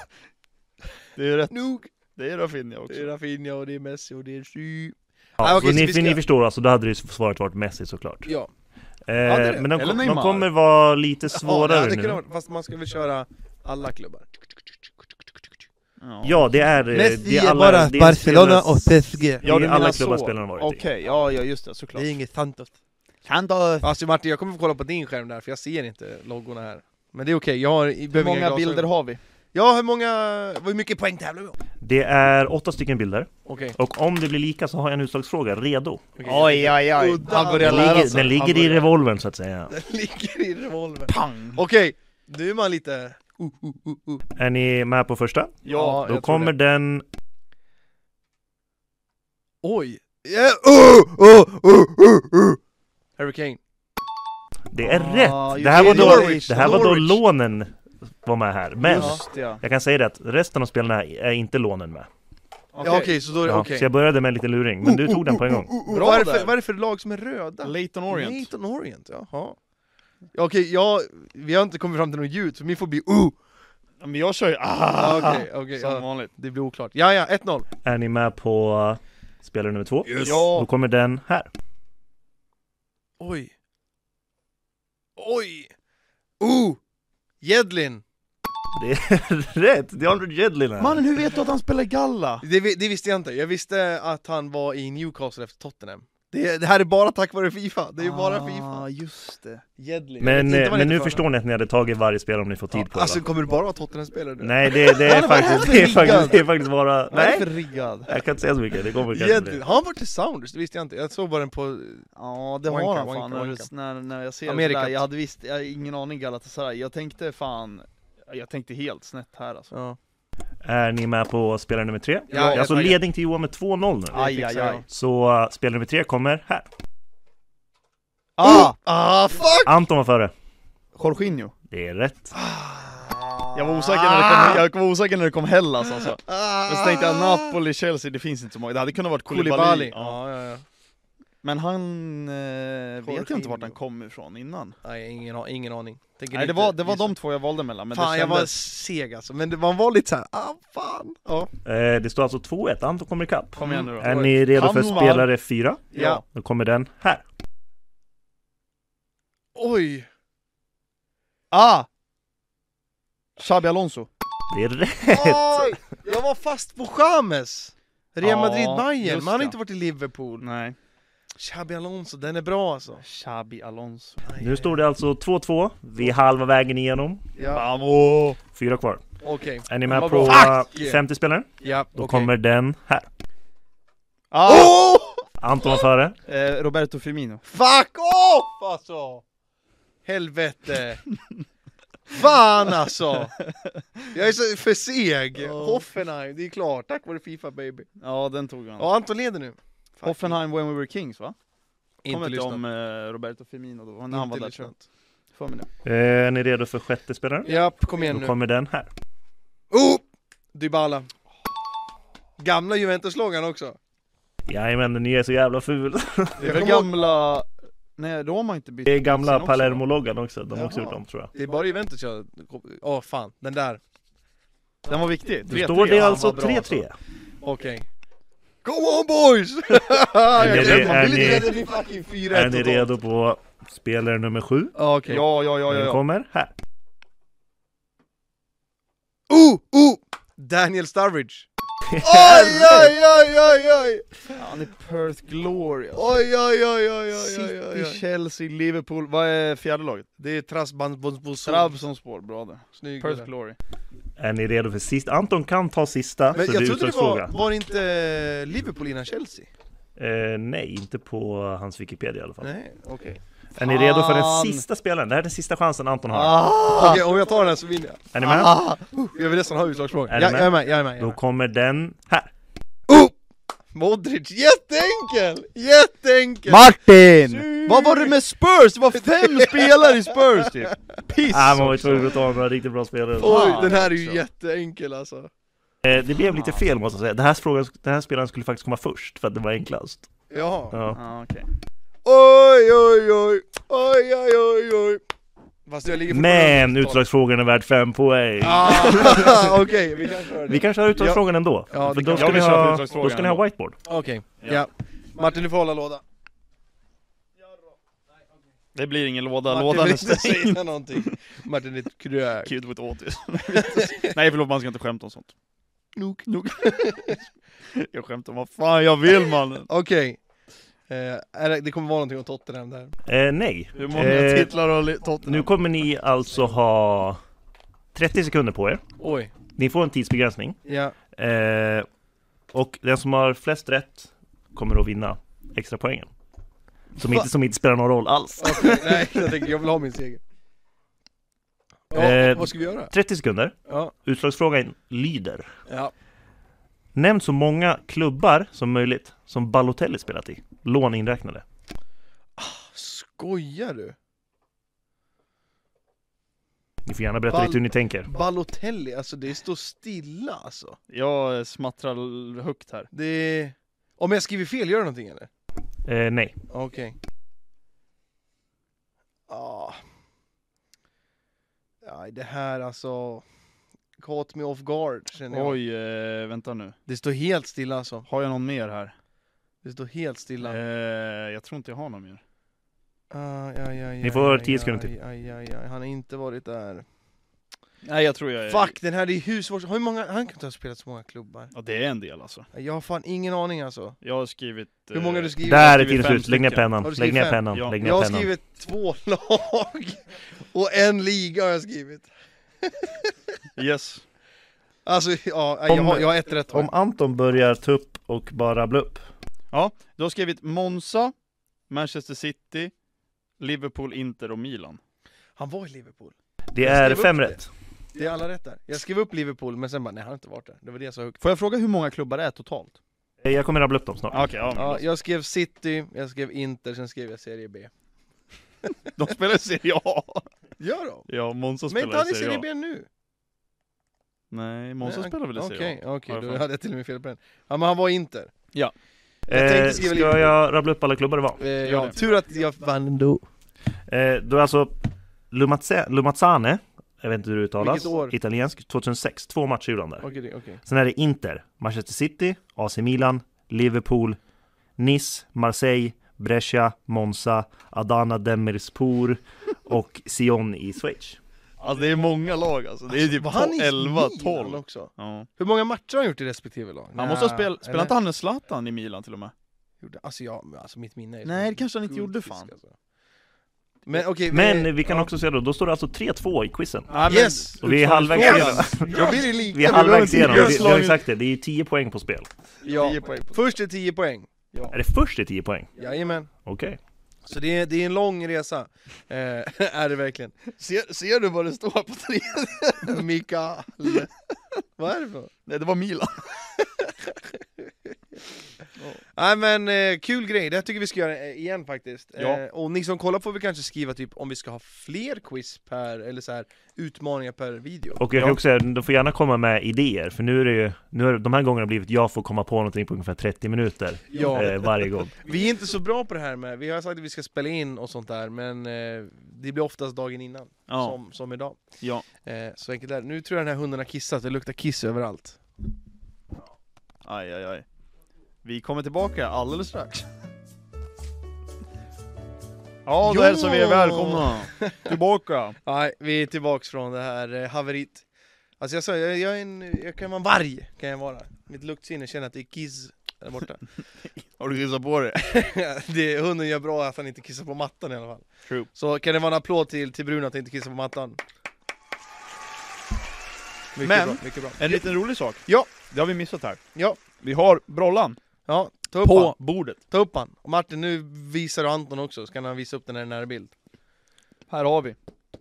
Det är ju rätt,
Nog!
det är Rafinha
Det är
också.
Rafinha och det är Messi och det är Sy.
Ja,
Ah, okej,
så
så
ni,
vi ska-
ni förstår alltså, då hade ju svaret varit Messi såklart.
Ja.
Eh,
det är det.
men de,
Eller
kom- de
Neymar.
kommer vara lite
ja, det
svårare
hade
nu.
kunnat vara- Fast man ska väl köra alla klubbar.
Ja, det är... eh, det är alla, det är spelare-
PSG.
Ja, det är alla
menar
alltså,
klubbar
så.
spelarna varit i.
Okej, ja, ja just det, såklart.
Det är inget Santos.
Kan då...
Alltså Martin, jag kommer få kolla på din skärm där för jag ser inte loggorna här. Men det är okej, jag har, jag
Hur
behöver
många
inga glasögon.
bilder har vi?
Ja, hur många, hur mycket poäng tävlar vi om?
Det är åtta stycken bilder.
Okej.
Och om det blir lika så har jag en utslagsfråga redo.
okej.
Oj, oj, oj.
Udda.
Han börjar
Den
lära
ligger,
sig.
den ligger i revolvern så att säga.
Den ligger i revolvern.
Pang!
Okej, nu är man lite... Uh, uh, uh, uh.
Är ni med på första?
Ja,
jag
Då
tror
kommer
det.
den...
Oj! Yeah. Uh, uh, uh, uh, uh. Hurricane.
Det är
Ah,
rätt!
just
Det här,
det,
var då,
Norwich,
det här var då
Norwich.
lånen var med här. Men
just ja.
jag kan säga det att resten av spelarna är inte lånen med.
Ja okej, så då är det
Ja,
okej. Oh,
Så jag började med en liten luring, men du tog den på en
Uh,
gång.
Bra
Vad är det för-
där.
vad är det för lag som är röda?
Leighton Orient.
Nathan Orient, jaha. Ja, Okej, jag, vi har inte kommit fram till något ljud, så min får bli uh!
Ja, Men jag kör ju
Ah,
ah,
Okej, okej,
som
ja,
vanligt.
det blir oklart. Ja, ja, 1-0.
Är ni med på spelare nummer två? Då
Ja,
kommer den här.
Oj. Oj! Uh! Jedlin!
Det är rätt! DeAndre Jedlin här.
mannen hur vet du att han spelar galla?
Det, vi- det visste jag inte, jag visste att han var i Newcastle efter Tottenham. Det, det här är bara tack vare Fifa, det är bara Fifa.
Ah, just det.
Jedlin. Jag vet
Men,
inte vad han
men
heter
nu
för
förstår ni att ni hade tagit varje spelare om ni får tid
Ja,
på det
Alltså
va?
kommer du bara vara Tottenham-spelare nu?
Nej det, det,
Vad
är
är det
faktiskt,
för
det, är faktiskt,
riggad?
det är faktiskt bara...
Vad är det
Nej!
för riggad?
Jag kan inte säga så mycket, det kommer kanske
Jedlin,
bli.
har han varit i Sounders? Det visste jag inte, jag såg bara den på...
Ja det
Wanka,
har han
wanka,
fan när,
wanka.
du- när, när jag ser
Amerikat.
det där. Jag hade visst, jag har ingen aning Galatasaray. Jag tänkte fan, jag tänkte helt snett här alltså.
Ja.
Är ni med på spelare nummer tre?
Ja,
jag
jag
alltså
tar-
ledning till Johan med 2-0 nu.
Aj, aj,
fixar jag.
aj.
Så uh, spelare nummer tre kommer här.
Ah!
Ah, fuck!
Anton var före.
Jorginho.
Det är rätt.
Jag var osäker när det kom, jag var osäker när det kom Hellas alltså.
Ah.
Men så tänkte jag Napoli, Chelsea, det finns inte så många. Det hade kunnat varit
Koulibaly.
Koulibaly. Ja.
Ja, ja, ja.
Men han eh, vet
Jorginho.
jag inte vart han kom ifrån innan.
Nej, ingen, a- ingen aning. Tänker
Nej det
inte
var, det var
gissa.
de två jag valde mellan. Men
fan,
det
jag var
kändes...
seg alltså, men det, man var lite såhär, ah fan. Ja.
Eh, det står alltså 2-1, Anton kommer ikapp.
Kom igen nu då.
Mm. Är ni redo för
Hanwar.
spelare fyra?
Ja.
Då kommer den här.
Oj!
Ah! Xabi Alonso.
Det är rätt!
Oj! Jag var fast på James! Real
Ja,
Madrid Bayern,
just
men han har
det.
inte varit i Liverpool.
Nej.
Xabi Alonso, den är bra alltså.
Xabi Alonso.
Nu står det alltså 2-2, vi är halva vägen igenom.
Ja,
Vamos!
Fyra kvar.
okej.
Är ni med
Vad
på
bra.
uh,
Fuck!
femte spelaren?
Ja,
Då
okej.
kommer den här.
Ah!
Åh!
Anton var före.
Eh, Roberto Firmino.
Fuck off alltså! Helvete! Fan alltså! Jag är så för seg! Hoffenheim, det är klart, tack vare Fifa baby.
Ja den tog han.
Ja, Anton leder nu. Fuck.
Hoffenheim When We Were Kings va?
Inte
Kommer inte
lyssnat.
om eh, Roberto Firmino då, när han var
Inte
där tror
lyssnat.
jag. För mig nu.
Eh, är ni redo för sjätte spelaren?
Japp, kom igen
Då
nu.
kommer den här.
Oh! Dybala. Gamla Juventus-loggan också.
Jajamän, den nya är så jävla ful.
Det är väl
kommer ihåg-
gamla... Nej då har man inte bytt
Det är gamla
Sen också.
Palermo-loggan också, de har också
Jaha.
gjort om tror jag.
Det är bara Juventus jag... Åh fan, den där.
Den var viktig,
Då
3-3
står det
Ja,
alltså
vad bra,
3-3.
Okej. Go on boys! Jag
Är ni-
glömde-
är
man blir
ni-
lite rädd vid fucking 4-1
Är ni
totalt.
redo på spelare nummer sju?
Ja,
alltså.
Okej.
Ja, ja, ja, ja,
Den
ja.
kommer här.
Oh, oh! Daniel Sturridge. Oj, oj, oj, oj, oj!
Han är Perth Glory alltså.
Oj, oj, oj, oj, oj, oj, oj,
City,
oj.
Chelsea, Liverpool. Vad är fjärde laget?
Det är Trabzonspor.
Trabzonspor, bra där.
Snygg.
Perth
Perth
Glory.
Är ni redo för sist? Anton kan ta sista,
Men
så
jag
det är
trodde det var,
utslagsfråga.
var det inte Liverpool innan Chelsea?
Eh, nej, inte på hans Wikipedia i alla fall.
Nej, okej.
Är ni redo för den
Fan.
sista spelaren? Det här är den sista chansen Anton har.
Ah!
Okej, om jag tar den här så vinner jag.
Är ni med?
Ah, uh, jag vill nästan ha utslagsfrågan.
Är
Ja,
du med?
jag är med, jag är med. Jag är
Då
med.
kommer den här.
Oh! Modric, jätteenkel! Jätteenkel!
Martin! Vad var det med Spurs? Det var fem spelare i Spurs typ! Piss
Ah, man var ju
också.
tvungen att ta några riktigt bra spelare.
Oj, den här är ju
Fan,
jätteenkel alltså.
Eh, det blev lite fel måste jag säga. Den här, frågan, den här spelaren skulle faktiskt komma först, för att det var enklast.
Jaha.
Ja.
Ah, okej.
Oj, oj, oj! Oj, oj, oj, oj! Fast jag ligger fortfarande
Men
på totalt.
utslagsfrågan är värd fem poäng.
Ah, Okej, vi kan köra det.
Vi kan köra utslagsfrågan ändå.
Ja, det
för
kan
då
vi.
ska,
Jag
ni
vill köra
ha,
utslagsfrågan
då ska ni ha whiteboard.
Okej, ja. Martin du får hålla låda.
Det blir ingen låda,
Martin
lådan
vill
är
inte
stängd.
säga någonting. Martin är ett krök.
Kid with autism. Nej förlåt, man ska inte skämta om sånt.
Nog.
Jag skämtar om vad fan jag vill mannen.
Okej. Eh, är det- det kommer vara någonting om Tottenham där.
Eh, nej.
Hur många
Eh,
titlar har li- Tottenham?
Nu kommer ni alltså ha 30 sekunder på er.
Oj.
Ni får en tidsbegränsning.
Ja.
Eh, och den som har flest rätt kommer att vinna extra poängen. Som inte, som inte spelar någon roll alls.
Okej, nej jag tänkte jag vill ha min seger. Ja,
Eh,
vad ska vi göra?
30 sekunder.
Ja.
Utslagsfrågan lyder.
ja.
Nämn så många klubbar som möjligt som Balotelli spelat i. Lån inräknade.
Skojar du?
Ni får gärna berätta
Bal-
lite hur ni tänker.
Balotelli, alltså det står stilla alltså.
Jag eh, smattrar l- högt här.
Det är... Om jag skriver fel, gör det någonting eller?
Eh, nej.
Okej. Ah. Ja, det här alltså... Caught me off guard känner jag.
Oj, eh, vänta nu.
Det står helt stilla alltså.
Har jag någon mer här?
Det står helt stilla.
Eh, jag tror inte jag har någon mer.
Aj, aj, aj,
Ni får
aj,
10 sekunder
aj, Aj, aj, aj. Han har inte varit där.
Nej jag tror jag är...
Fuck, den här är husvårds... Hur många... Han kan inte ha spelat så många klubbar.
Ja, det är en del alltså.
Jag har fan ingen aning alltså.
Jag har skrivit... eh,
Hur många har du skrivit?
Där är
skriver
tiden
fem
slut. Lägg ner
stycken.
pennan.
Har du
Lägg ner
skrivit fem?
pennan.
Ja.
Lägg
Jag
ner
har
pennan.
skrivit två lag. Och en liga har jag skrivit.
Yes.
Alltså, ja, jag,
Om-
har, jag har ett rätt.
Om
Om...
Anton börjar ta upp och bara rabbla upp.
Ja, du har skrivit Monza, Manchester City, Liverpool, Inter och Milan.
Han var i Liverpool.
Det
Jag
är
skrev
fem
upp det.
rätt.
Det är alla rätt där. Jag skrev upp Liverpool, men sen bara nej, han har inte varit där. Det var det jag sa högt.
Får jag fråga hur många klubbar det är totalt?
Eh, Jag kommer rabbla upp dem snart.
Ah, Okej, ja, men
Ja, jag skrev City, jag skrev Inter, sen skrev jag Serie B.
De spelar i Serie A!
Gör då!
Ja, Monza
Men inte
spelar
han
i
i Serie
Serie A.
B nu?
Nej, Monza
Nej,
spelar väl i Serie A? Har
Okej, okej,
jag för
då
mig.
hade jag till och med fel på den. Ja men han var Inter. jag tänkte
Eh,
skriva
ska
Liverpool.
jag rabbla upp alla klubbar det var?
Eh,
Gör
ja,
det.
tur att jag vann ändå.
Eh, då är alltså Lumatze- Lumazzane, jag vet inte hur det uttalas,
Vilket år?
italiensk, 2006. Två matcher gjorde han där.
Okej, det- okej.
Sen är det Inter, Manchester City, AC Milan, Liverpool, Nice, Marseille, Brescia, Monza, Adana Demirspor och Sion i Schweiz.
Alltså det är många lag alltså, det är typ
Var han i
11,
Milan
12
också?
ja.
Hur många matcher har han gjort i respektive lag?
Han måste ha spelat,
eller?
spelade inte han med Zlatan i Milan till och med?
Gjorde- Alltså, jag, men alltså mitt minne är
Nej,
som
det kanske han inte gjorde,
guldfisk,
fan.
alltså. Men okej,
Men vi kan också se då, då står det alltså 3-2 i quizen.
Nej, men-
Yes!
Och vi är halvvägs igenom.
Yes!
Jag blir ju lika.
Vi är halvvägs
Vi har
igenom, vi, vi har ju
slagit-
sagt det, det är ju 10 poäng på spel.
Ja.
10 poäng på-
Först är 10 poäng.
Är det först det är 10 poäng?
Jajamän.
Okej.
Så det är, det är en lång resa. Eh, är det verkligen.
Ser, ser du vad det står på tre?
Mikael. Vad är det för något?
Nej det var Milan
Nej men eh, kul grej, det här tycker vi ska göra eh, igen faktiskt.
Ja.
Eh, och ni som kollar får vi kanske skriva typ om vi ska ha fler quiz per, eller så här utmaningar per video.
Och jag kan också säga, de får gärna komma med idéer, för nu är det ju, nu är det, de här gångerna har det blivit jag får komma på någonting på ungefär 30 minuter
Ja.
eh, varje gång.
Vi är inte så bra på det här med, vi har sagt att vi ska spela in och sånt där, men eh, det blir oftast dagen innan,
Ja,
som, som idag.
ja
Eh, så enkelt är det. Nu tror jag den här hunden har kissat, det luktar kiss överallt.
Aj aj aj Vi kommer tillbaka alldeles strax Ja
Jo!
då hälsar vi er välkomna tillbaka
Nej, vi är tillbaks från det här eh, haveriet. Alltså jag sa, jag, jag, är en, jag kan vara en varg, kan jag vara. Mitt luktsinne känner att det är kiss där borta.
Har du kissat på det?
det, hunden gör bra att han inte kissar på mattan i alla fall.
True.
Så kan det vara en applåd till, till Bruno att inte kissa på mattan. Mycket
Men-
bra, mycket bra.
En liten rolig sak.
Ja.
Det har vi missat här.
Ja,
Vi har Brollan
ja, ta upp han.
på bordet.
Ta upp han. Och Martin, nu visar du Anton också, så kan han visa upp den här nära bild.
Här har vi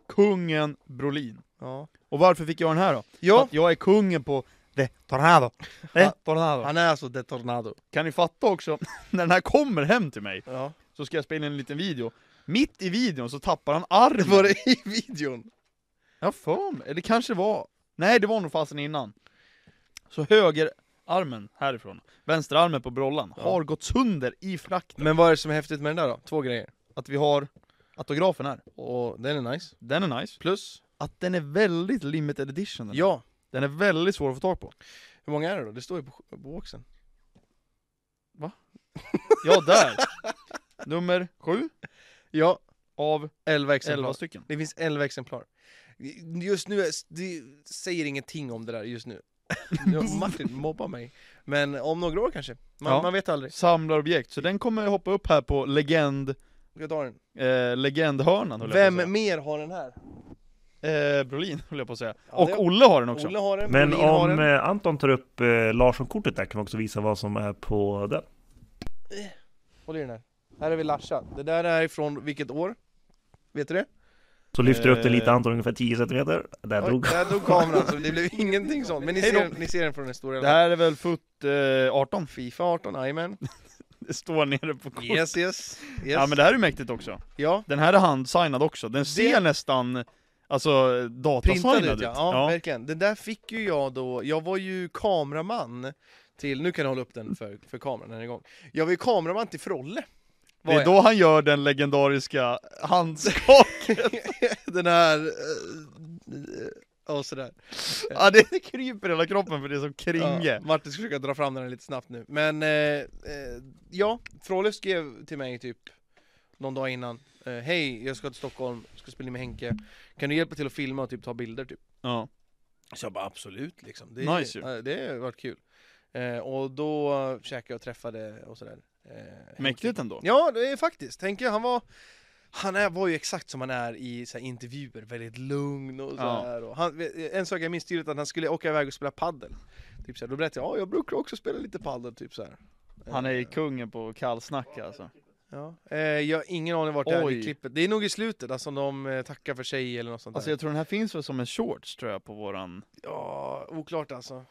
kungen Brolin.
Ja.
Och varför fick jag den här då? För
ja,
att Jag är kungen på The Tornado. The
Ja.
Tornado.
han är alltså The Tornado.
Kan ni fatta också, när den här kommer hem till mig
Ja.
så ska jag spela in en liten video. Mitt i videon så tappar han
Det var
armen.
det i videon.
Ja, för mig. Eller kanske var... Nej, det var nog fasen innan. Så höger armen härifrån, vänster armen på Brollan,
Ja.
har gått sönder i frakten.
Men vad är det som är häftigt med den där då? Två grejer.
Att vi har autografen här.
Och den är nice.
Den är nice.
Plus?
Att den är väldigt limited edition. Den,
Ja.
den är väldigt svår att få tag på.
Hur många är det då? Det står ju på, på boxen.
Ja, där! Nummer sju
Ja,
av
11 exemplar.
elva stycken.
Det finns 11 exemplar. Just nu, är, det säger ingenting om det där just nu. Nu har Martin mobbar mig. Men om några år kanske. Man,
Ja.
man vet aldrig.
Samlarobjekt, så den kommer hoppa upp här på legend,
Jag tar den.
eh, legendhörnan höll jag på att
Vem mer har den här?
säga. Eh, Brolin höll jag på att säga.
Ja,
Och
det-
Olle har den också.
Olle har den,
Men
Brolin har
om
den.
eh, Anton tar upp eh, Larsson-kortet där kan vi också visa vad som är på den.
Håll i den här. Här är vi Larsa. Det där är från vilket år? Vet du det?
Så lyfter du upp den lite
Eh.
Anton, ungefär 10 cm. Där
Oj,
drog
där drog kameran så det blev ingenting sånt. Men ni
Hej
ser,
då.
den, ni ser den från den stora.
Det här är väl fot eh, 18?
Fifa 18, jajamän.
Det står nere på kortet.
Yes, yes. yes.
Ja men det här är mäktigt också.
ja.
Den här är handsignad också, den ser nästan Alltså
Printad
datasignad
ut
ut.
ja. ja, verkligen. Den där fick ju jag då, jag var ju kameraman till, nu kan jag hålla upp den för, för kameran den är igång. Jag var ju kameraman till Frolle.
Det är då han gör den legendariska handskak.
den här, eh, eh, och sådär.
ja, det kryper i hela kroppen för det är som
Ja,
kringe.
Martin ska försöka dra fram den här lite snabbt nu. Men eh, eh, ja, Frolle skrev till mig typ någon dag innan. Eh, Hej, jag ska till Stockholm, ska spela in med Henke. Kan du hjälpa till att filma och typ ta bilder typ?
Ja.
Så jag bara absolut liksom. Det,
Nice ju.
eh, det har varit kul. Eh, och då käkade jag och träffade och sådär. Eh, Henke.
Mäktigt ändå.
Ja, det är faktiskt. Tänker jag, han var han är, var ju exakt som han är i så här, intervjuer, väldigt lugn och så
Ja.
här. Och han, en sak jag minns tydligt att han skulle åka iväg och spela paddel. Typ så här, då berättade jag, ja jag brukar också spela lite paddel typ så här.
Han är
Eh,
ju kungen på kallsnack alltså.
Ja. Eh, jag har ingen aning vart det är i
Oj.
klippet. Det är nog i slutet, alltså de eh, tackar för sig eller något sånt
Alltså
där.
jag tror den här finns väl som en shorts tror jag på våran...
Ja, oklart alltså.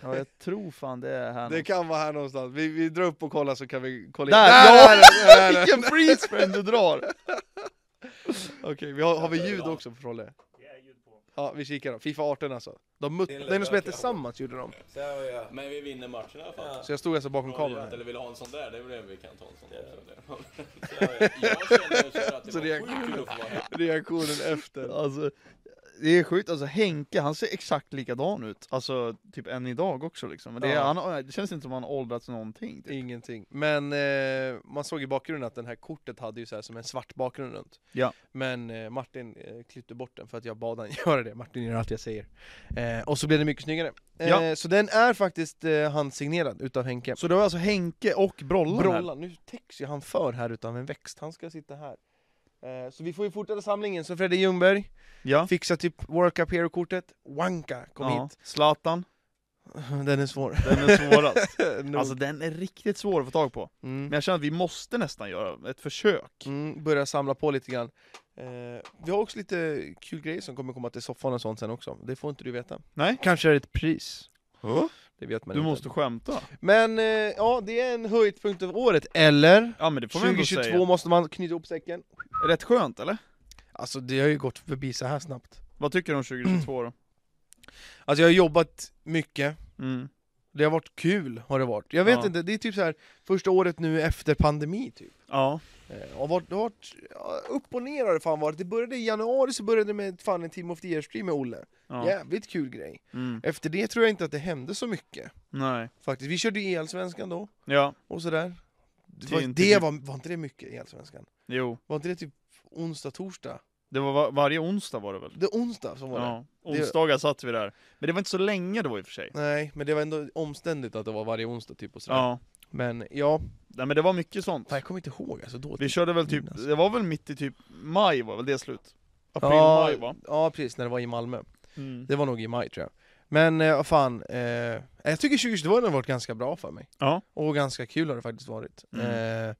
Ja jag tror fan det är här
Det kan vara här någonstans. Vi, vi drar upp och kollar så kan vi kolla in.
Där!
där, där, där, där.
Vilken freeze frame du drar!
Okej, vi har, har vi ljud också på Frolle? Ja, vi kikar då. Fifa 18 alltså. De mut- det är något som heter tillsammans gjorde de.
Men vi vinner matchen i alla fall.
Så jag stod alltså bakom kameran.
Eller
här.
vill ha en sån där, det är väl det vi kan ta en sån där. Jag känner så här att det
Så
var
det är-
sjukt kul att få vara här.
Reaktionen efter.
Alltså, det är sjukt, alltså Henke han ser exakt likadan ut, alltså typ än idag också liksom. Men det, är,
Ja.
han, det känns inte som han har åldrats någonting. Typ.
Ingenting. Men eh, man såg i bakgrunden att den här kortet hade ju så här som en svart bakgrund runt.
Ja.
Men eh, Martin eh, klippte bort den för att jag bad han göra det. Martin gör allt jag säger. Eh, och så blev det mycket snyggare. Eh,
Ja.
Så den är faktiskt eh, handsignerad utav Henke.
Så det var alltså Henke och Brollan, här.
Brollan, nu täcks ju han för här utav en växt, han ska sitta här. Eh, Så vi får ju fortsätta samlingen, så Fredrik Ljungberg,
Ja.
fixa typ World Cup Hero-kortet, Wanka, kom
ja.
hit.
Zlatan,
Den är svår.
den är svårast.
Nog.
alltså den är riktigt svår att få tag på. Men
mm.
jag känner att vi måste nästan göra ett försök.
Mm, börja samla på lite grann. Eh, vi har också lite kul grejer som kommer komma till soffan och sånt sen också, det får inte du veta.
Nej?
Kanske är det ett pris, det vet man
Du
inte.
måste skämta.
Men eh, ja, det är en höjdpunkt av året, eller?
Ja men det får man ändå
2022
säga.
måste man knyta ihop säcken.
Rätt skönt eller?
Alltså det har ju gått förbi så här snabbt.
Vad tycker du om 2022 då?
Alltså jag har jobbat mycket,
Mm.
Det har varit kul, har det varit. Jag vet
Ja.
inte, det är typ så här första året nu efter pandemi typ.
Ja.
Eh, har varit, det har varit, ja, upp och ner har det fan varit. Det började i januari så började det med fan en Team of the Year-stream med Olle.
ja.
Jävligt kul grej.
Mm.
Efter det tror jag inte att det hände så mycket.
Nej.
Faktiskt, vi körde ju Elsvenskan då,
Ja.
och sådär. Det,
Det är
var,
inte
det
mycket.
var, var inte det mycket Elsvenskan?
Jo.
Var inte det typ onsdag, torsdag?
Det var var- varje onsdag var det väl?
Det är onsdag som var det.
Ja, onsdagar satt vi där. Men det var inte så länge då i och för sig.
Nej, men det var ändå omständigt att det var varje onsdag typ och sådär.
Ja,
Men ja,
Nej, men det var mycket sånt.
fan, jag kommer inte ihåg alltså då.
Vi körde väl typ,
Minnas.
det var väl mitt i typ maj var väl det slut? April,
ja,
maj va?
Ja, precis, när det var i Malmö.
Mm.
Det var nog i maj tror jag. Men eh, vad fan, eh, jag tycker 2022 har varit ganska bra för mig.
Ja.
Och ganska kul har det faktiskt varit.
Mm.
Eh,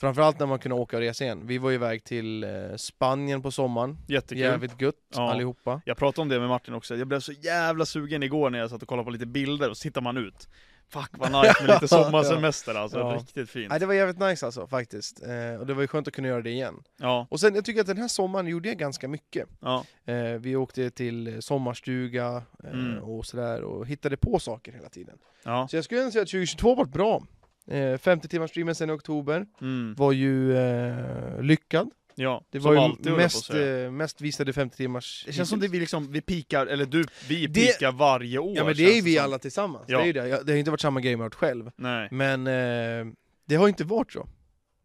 framförallt när man kunde åka och resa igen. Vi var ju iväg till eh, Spanien på sommaren.
Jättekul.
Jävligt gött
Ja.
allihopa.
Jag pratade om det med Martin också, jag blev så jävla sugen igår när jag satt och kollade på lite bilder och så tittar man ut Fuck vad nice med lite sommarsemester alltså,
Ja.
riktigt fint
Nej, det var jävligt nice alltså faktiskt. Eh, och det var ju skönt att kunna göra det igen.
Ja,
Och sen jag tycker att den här sommaren gjorde jag ganska mycket.
ja,
Eh, vi åkte till eh, sommarstuga eh,
Mm.
och sådär och hittade på saker hela tiden.
ja,
Så jag skulle ändå säga att 2022 varit bra. Eh, 50 timmars streamen sen i oktober
mm,
var ju eh, lyckad.
ja,
Det
som
var ju
alltid, höll jag på att
mest,
säga.
eh, mest visade 50 timmars...
Det känns som det vi liksom, vi pikar, eller du, vi
Det-
pikar varje år
Ja men det
känns
är ju vi
som.
alla tillsammans.
Ja.
Det, är ju det. Jag, det har inte varit samma grej med varit själv.
Nej,
Men eh, det har inte varit så.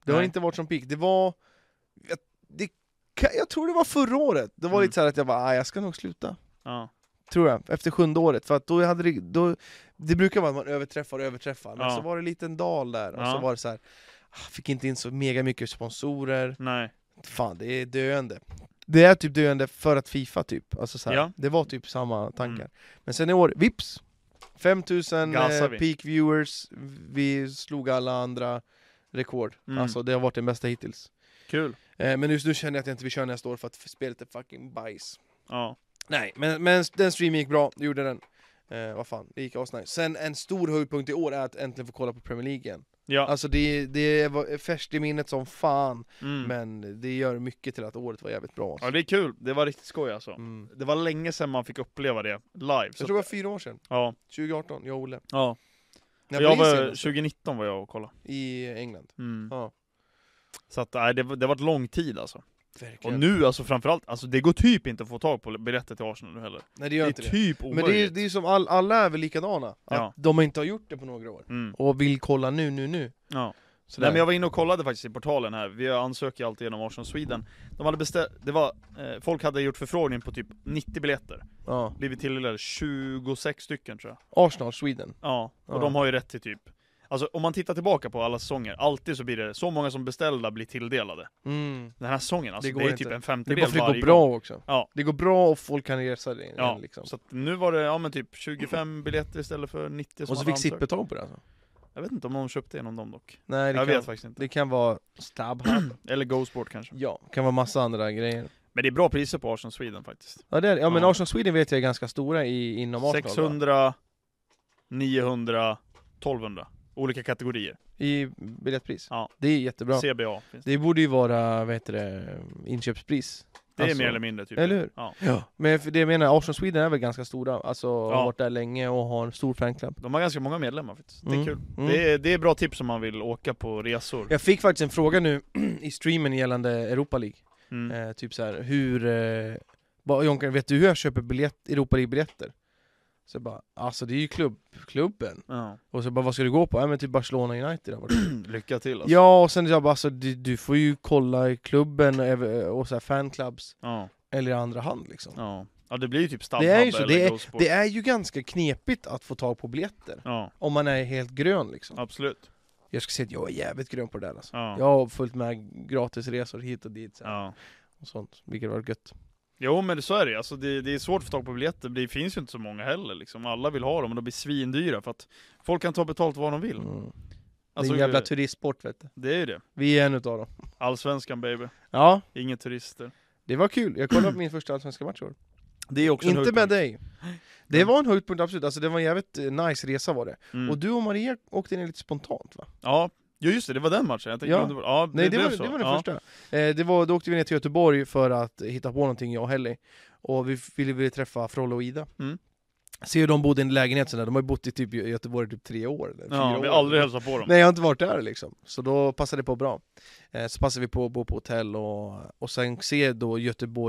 Det har
Nej.
inte varit som peak. Det var... Jag, det, kan- jag tror det var förra året. Det var
Mm.
lite så här att jag bara, "Ah, jag ska nog sluta.
ja,
Tror jag, efter sjunde året, för att då hade det, då, det brukar vara att man överträffar och överträffar, men
Ja.
så var det en liten dal där, och
Ja.
så var det så här. ah, Fick inte in så mega mycket sponsorer,
nej,
fan det är döende Det är typ döende för att Fifa typ, alltså så här,
Ja. Mm.
det var typ samma tankar Men sen i år, vips! 5000 eh,
Gasar vi.
peak viewers, vi slog alla andra rekord,
Mm.
alltså det har varit den bästa hittills
kul,
eh, Men just nu känner jag att jag inte vill köra nästa år för att spelet är fucking bajs
ja,
Nej, men, men den streamen gick bra, det gjorde den. Eh, vad fan, det gick asnice. Sen en stor höjdpunkt i år är att äntligen få kolla på Premier League igen.
ja,
Alltså det, det var färskt i minnet som fan,
mm.
men det gör mycket till att året var jävligt bra.
ja det är kul, det var riktigt skoj alltså
Mm.
Det var länge sedan man fick uppleva det live,
Jag
så,
tror det var fyra år sedan,
ja,
2018, jag och Olle.
ja
När
Jag
jag var
var,
senast,
2019 var jag och kollade
I England.
mm.
Ja,
Så att, nej, det, det har varit lång tid alltså Och
verkligen.
nu alltså framförallt, alltså det går typ inte att få tag på biljetter till Arsenal nu heller.
Nej det
Det
gör
är
inte det.
typ
Men det är ju
omöjligt.
det är ju som all, alla är väl likadana, att
Ja.
de inte har gjort det på några år.
Mm.
Och vill kolla nu, nu, nu.
Ja.
Sådär.
Nej, men jag var inne och kollade faktiskt i portalen här, vi ansöker ju alltid genom Arsenal Sweden. De hade beställt, det var, eh, folk hade gjort förfrågning på typ 90 biljetter.
ja.
Blivit tilldelade 26 stycken tror jag.
Arsenal, Sweden.
Ja, och
Ja.
de har ju rätt till typ Alltså om man tittar tillbaka på alla säsonger, alltid så blir det så många som beställda blir tilldelade.
Mm.
Den här säsongen, alltså
Det
det,
går
är ju
inte.
typ en
Det är
femtedel
bara för att det
varje
går bra
gång.
också.
Ja.
Det går bra och folk kan resa det igen,
Ja,
liksom.
så att nu var det, ja men typ 25 biljetter istället för 90 som
Och så
hade
fick
ansökt.
Zipp betag på det alltså?
Jag vet inte om någon köpte genom dem dock.
Nej det
Jag
kan,
vet faktiskt inte.
det kan vara Stabhub
Eller GoSport kanske.
Ja, kan vara massa andra grejer
Men det är bra priser på Arsenal Sweden faktiskt.
Ja, det är, ja men
Ja.
Arsenal Sweden vet jag är ganska stora i, inom Arsenal va?
600, 900, 1200. Olika kategorier.
I biljettpris?
Ja.
Det är jättebra
CBA finns det.
Det borde ju vara, vad heter det, inköpspris
Det är
Alltså,
mer eller mindre typ.
Eller hur?
Ja.
Ja, men för det jag menar, Arsenal Sweden är väl ganska stora, alltså
Ja.
har varit där länge och har en stor fanclub
De har ganska många medlemmar faktiskt. Det är
Mm,
kul.
mm.
Det, är, det är bra tips om man vill åka på resor.
Jag fick faktiskt en fråga nu i streamen gällande Europa League
Mm.
Eh, typ så här, hur... Eh, bara, Jonkan, vet du hur jag köper biljett, Europa League-biljetter? Så jag bara, alltså det är ju klubb, klubben.
Ja.
Och så bara, vad ska du gå på? Ja men typ Barcelona United. har varit.
Lycka till alltså.
Mm. ja, och sen jag bara, alltså du, du får ju kolla i klubben och, ev- och så här fanclubs,
Ja.
eller i andra hand liksom.
Ja. ja, det blir ju typ
Det är ju
Stabhub
så,
eller
det är-
GoSport.
Det är ju ganska knepigt att få tag på biljetter,
Ja,
om man är helt grön liksom.
absolut.
Jag ska säga att jag är jävligt grön på det där alltså.
Ja.
Jag har följt med gratisresor hit och dit så här,
Ja.
och sånt, vilket var gött.
Jo men så är det ju. alltså det, det är svårt att få tag på biljetter, det finns ju inte så många heller liksom. Alla vill ha dem och de blir svindyra för att folk kan ta betalt vad de vill.
Mm.
Alltså,
det är en jävla turistsport vet du.
det är ju det.
Vi är en utav dem.
Allsvenskan baby,
Ja,
inga turister.
det var kul. Jag kollade på min första allsvenska match i år.
Det är också en
Inte med
höjdpunkt.
dig. Det var en höjdpunkt absolut, alltså det var en jävligt eh, nice resa var det.
Mm.
Och du och Maria åkte in lite spontant va?
Ja, jo just det, det var den matchen. Jag tänkte,
Ja.
ja. Det, ja,
Nej det,
blev
var,
så.
det var den
ja.
första. Eh, det var, då åkte vi ner till Göteborg för att hitta på någonting jag och Helly. Och vi f- ville, ville träffa Frollo och Ida.
Mm.
Ser hur de bodde i en lägenhet sådär, de har ju bott i typ i Göteborg i typ tre år eller fyra
Ja,
år.
vi har aldrig hälsat på dem.
Nej jag har inte varit där liksom, så då passade det på bra eh, Så passade vi på att bo på hotell och, och sen se då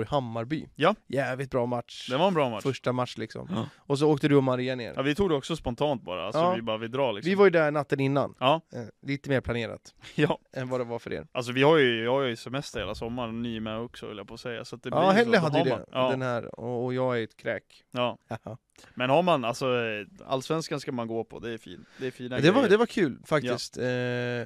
Göteborg-Hammarby
Ja.
Jävligt bra match,
Det var en bra match.
första match liksom
Ja.
Och så åkte du och Maria ner
Ja, vi tog det också spontant bara, alltså
typ. Ja.
vi bara, vi drar liksom.
Vi var ju där natten innan
Ja.
eh, Lite mer planerat
Ja,
än vad det var för er
alltså vi har ju, jag har ju semester hela sommaren, ni är med också vill jag på att säga. Så att det blir
Ja,
ju så
Helle
att
hade
har
ju det,
man- Ja,
den här, och, och jag är ett kräk
ja.
Haha.
Men har man, alltså eh, allsvenskan ska man gå på, det är fint. Det är fina
det var,
grejer.
det var kul faktiskt. Eh,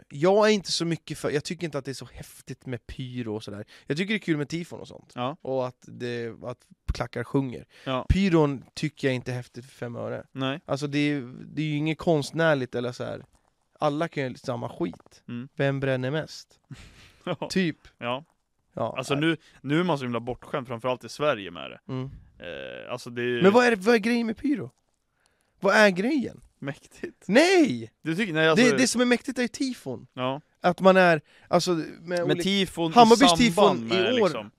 jag är inte så mycket för, jag tycker inte att det är så häftigt med pyro och sådär. Jag tycker det är kul med tifon och sånt.
Ja.
Och att, det, att klackar sjunger.
Ja.
Pyron tycker jag inte är häftigt för fem öre.
Nej,
Alltså det är, det är ju inget konstnärligt eller så här. Alla kan ju samma skit.
Mm.
Vem bränner mest? Typ.
ja.
Ja,
Alltså nu, nu är man så himla bortskämd, framförallt i Sverige med det.
Mm.
Eh, alltså det är ju
Men vad är, vad är grejen med pyro? Vad är grejen?
mäktigt.
Nej!
Du tycker, nej alltså,
det, det som är mäktigt är ju tifon.
ja.
Att man är, alltså med
Men
olika...
tifon
Hammarbys
i
tifon
samband
i
med
år-
liksom.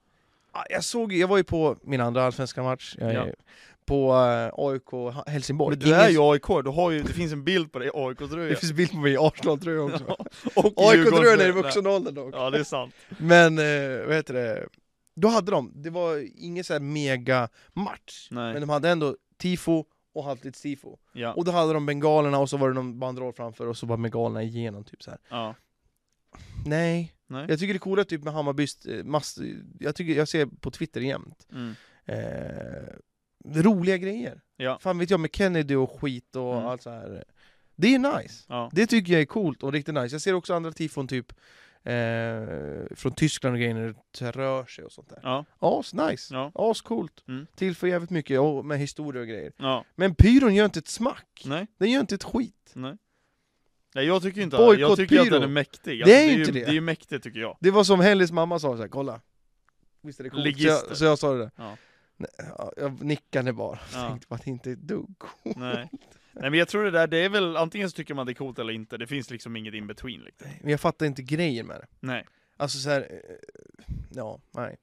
Ja, Jag såg, jag var ju på min andra allsvenska match, jag är
Ja.
ju på eh, AIK Ha- Helsingborg
Men du
Ingen-
är ju AIK, du har ju, det finns en bild på dig i
Det
AIK-tröja.
finns bild på mig i Arsenal-tröja också
Och
AIK-tröjan är i
Djurgårdströja.
vuxen ålder dock
Ja det är sant.
Men, eh, vad heter det, då hade de, det var ingen så här mega match
Nej.
Men de hade ändå tifo och halvtids-tifo
Ja,
Och då hade de bengalerna och så var det någon banderoll framför och så var bengalerna igenom typ så här.
ja.
Nej,
Nej.
jag tycker det är coola typ med Hammarbys, eh, mass, jag, tycker, jag ser på Twitter jämt
Mm.
eh, roliga grejer.
Ja.
Fan vet jag med Kennedy och skit och
Mm.
allt så här. Det är nice.
Ja.
Det tycker jag är coolt och riktigt nice. Jag ser också andra tifon typ eh, från Tyskland och grejer när det rör sig och sånt där.
Ja,
As nice.
ja,
Ascoolt.
Mm.
Tillför jävligt mycket och med historia och grejer.
ja.
Men pyron gör inte ett smack.
Nej.
Den gör inte ett skit.
Nej jag tycker inte
Boykott
jag tycker att
pyro.
den är mäktig. Alltså,
Det är ju inte det.
Det är ju mäktigt tycker jag.
Det var som Helles mamma sa så här, kolla. Visst är det coolt? Så
Ligister.
jag, så jag sa det där.
Ja.
Nej, ja, Jag nickade bara,
Ja.
tänkte på att det inte är ett dugg coolt.
Nej. Nej men jag tror det där, det är väl antingen så tycker man det är coolt eller inte. Det finns liksom inget in between. Liksom.
Men jag fattar inte grejen med det.
Nej.
Alltså så här, eh, ja, nej.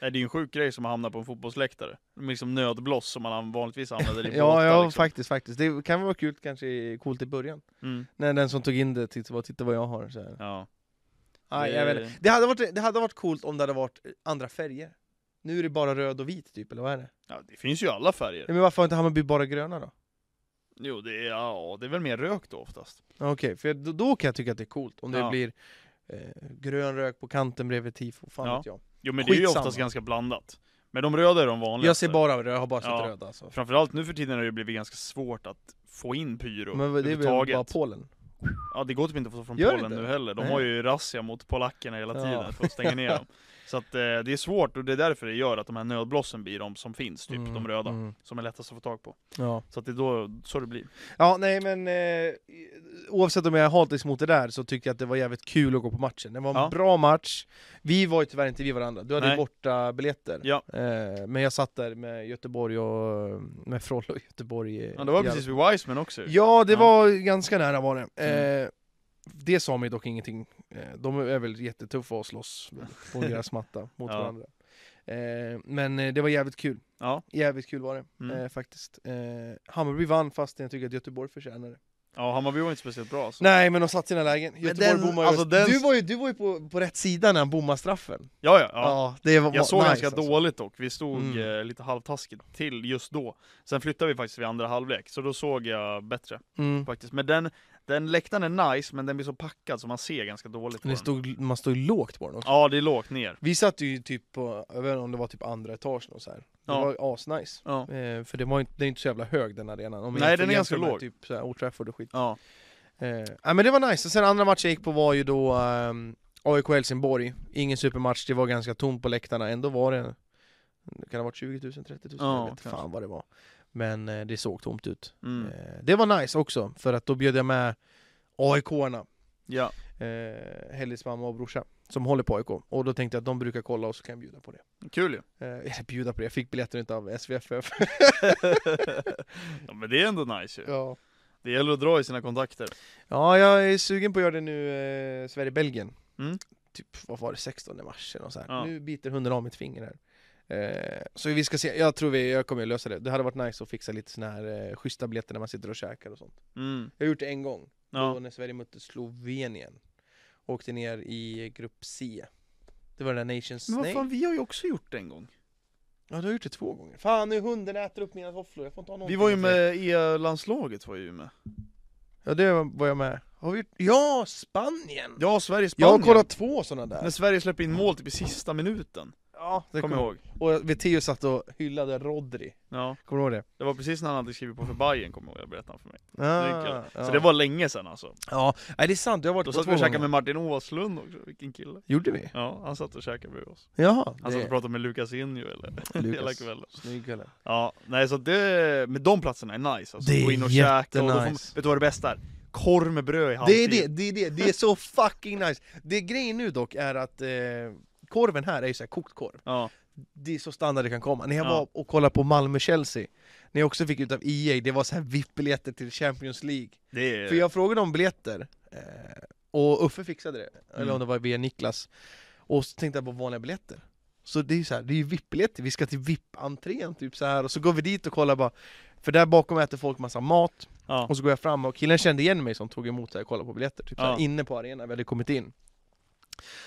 Nej, Det är ju en sjuk grej som har hamnat på en fotbollsläktare. De är Liksom nödblås som man vanligtvis använder i båtar.
Ja, ja
liksom.
faktiskt, faktiskt. Det kan vara kul, kanske i- coolt i början.
Mm.
När den som tog in det tittade vad, titta vad jag har. Så här.
Ja.
Aj,
Det-
jag vet inte. det, hade varit, det hade varit coolt om det hade varit eh, andra färger. Nu är det bara röd och vit typ, eller vad är det?
ja, det finns ju alla färger.
Ja, Men varför har inte Hammarby bara gröna då?
Jo, det är, ja, det är väl mer rök då oftast.
Ja, Okej, för jag, då, då kan jag tycka att det är coolt om det
Ja.
blir eh, grön rök på kanten bredvid tifo, fan
Ja.
vet jag.
Jo men det är ju
Skitsamma.
oftast ganska blandat. Men de röda är de vanligaste.
Jag ser bara röd, jag har bara sett
Ja.
röd alltså.
Framförallt nu för tiden har det ju blivit ganska svårt att få in pyro
Men det är väl
överhuvudtaget.
bara Polen?
Ja det går typ inte att få från
Gör det
Polen
inte?
nu heller, de
Nej.
har ju razzia mot polackerna hela
Ja.
tiden för att stänga ner dem Så att eh, det är svårt och det är därför det gör att de här nödblossen blir de som finns, typ
Mm,
de röda
mm.
Som är lättast att få tag på
Ja.
Så att det är då, så det blir
Ja, nej men eh, oavsett om jag är hatisk mot det där så tyckte jag att det var jävligt kul att gå på matchen. Det var en
Ja.
bra match. Vi var ju tyvärr inte vid varandra, du hade ju
Nej.
borta biljetter.
Ja.
Eh, men jag satt där med Göteborg och med Frollo och Göteborg. eh,
Ja det var
i alla-
precis vid Wiseman också ju.
Ja, det
Ja. Mm.
var ganska nära var det. Eh, Det sa mig dock ingenting. Eh, de är väl jättetuffa att slåss på deras matta mot
Ja.
varandra. Eh, men eh, det var jävligt kul.
Ja.
Jävligt kul var det
Mm.
eh, faktiskt. Eh, Hammarby vann fast jag tycker att Göteborg förtjänar det.
ja Hammarby var inte speciellt bra alltså.
Nej men de satt sina lägen, Göteborg
den-
bommar ju
alltså den-
mest. Du var ju, du var ju på, på rätt sida när han bommade straffen
Ja ja, ja.
Ja, det var
Jag såg
nice,
ganska
alltså.
dåligt dock, vi stod
Mm.
eh, lite halvtaskigt till just då Sen flyttade vi faktiskt vid andra halvlek, så då såg jag bättre
mm.
faktiskt Men den, den läktaren är nice, men den blir så packad så man ser ganska dåligt på
Men det
den
stod, Man stod ju lågt på den också
Ja det är lågt ner
Vi satt ju typ på, jag vet inte om det var typ andra etagen och så här. Det
Ja.
var asnice
Ja,
eh, För det var ju, den är inte så jävla hög den arenan om
Nej,
jag jämför-
den är ganska
jämför med
låg.
Typ så här, Old Trafford och skit
ja,
eh, ja, men det var nice, och sen andra matchen jag gick på var ju då ehm, AIK Helsingborg Ingen supermatch, det var ganska tomt på läktarna, ändå var det det Kan ha varit 20 000, 30 000,
Ja,
jag vet
kanske.
fan vad det var Men eh, det såg tomt ut
mm.
Eh, Det var nice också, för att då bjöd jag med AIK-arna,
ja.
eh, Hellis mamma och brorsa, som håller på AIK. Och då tänkte jag att de brukar kolla och så kan jag bjuda på det.
Kul ju!
Eh, eller bjuda på det, jag fick biljetter inte av SVFF.
ja men det är ändå nice ju.
ja.
Det gäller att dra i sina kontakter.
ja, jag är sugen på att göra det nu, eh, Sverige-Belgien.
Mm.
Typ, vad var det, 16 mars eller något så här.
Ja.
Nu biter hunden av mitt finger här. Eh, så vi ska se, jag tror vi, jag kommer lösa det. Det hade varit nice att fixa lite såna här eh, schyssta biljetter när man sitter och käkar och sånt.
Mm.
Jag har gjort det en gång, då
Ja.
när Sverige mötte Slovenien. Åkte ner i grupp C. Det var den där Nations...
Men vad
nej.
fan, vi har ju också gjort det en gång.
Ja, du har gjort det två gånger. Fan, nu hunden äter upp mina tofflor, jag får inte ha
Vi
någonting
var ju
till det.
med, E-landslaget var ju med.
Ja, det var var jag med. Har vi gjort... Ja, Spanien!
Ja, Sverige-Spanien.
Jag har kollat två såna där.
När Sverige släpper in mål typ i sista minuten.
Ja, det
Kom
kommer jag ihåg.
ihåg.
Och Veteo satt och hyllade Rodri.
Ja,
Kommer du ihåg det?
det var precis när han hade skrivit på för Bayern kommer jag ihåg, jag berättade han för mig.
Ah,
Så det var länge sedan alltså.
Ja, nej det är sant, jag har varit
Då
på
satt
två
vi och käkade
gånger.
med Martin Åslund också, vilken kille.
Gjorde vi?
Ja, han satt och käkade bredvid oss.
Jaha,
Han satt och pratade med Lukas Injo eller hela
Lukas.
kvällen.
Snygg eller?
Ja, nej så det, men de platserna är nice alltså.
Det är
Gå in och käka och då får, man-
jättenice.
Vet du vad det bästa är? Korv med bröd i
Det är
halvtid.
det, det är det, det är så fucking nice! Det grejen nu dock är att eh, korven här är ju såhär kokt korv.
Ja,
Det är så standard det kan komma. När jag
Ja.
var och kollade på Malmö-Chelsea, när jag också fick ut av EA, det var så här VIP-biljetter till Champions League.
det är...
För jag frågade om biljetter, eh, och Uffe fixade det, eller om det var via Niklas Och så tänkte jag på vanliga biljetter Så det är ju så här, det är ju VIP-biljetter, vi ska till VIP-entrén typ så här och så går vi dit och kollar bara För där bakom äter folk massa mat,
Ja.
och så går jag fram och killen kände igen mig som tog emot det här och kollade på biljetter typ så här,
Ja.
inne på arenan, vi hade kommit in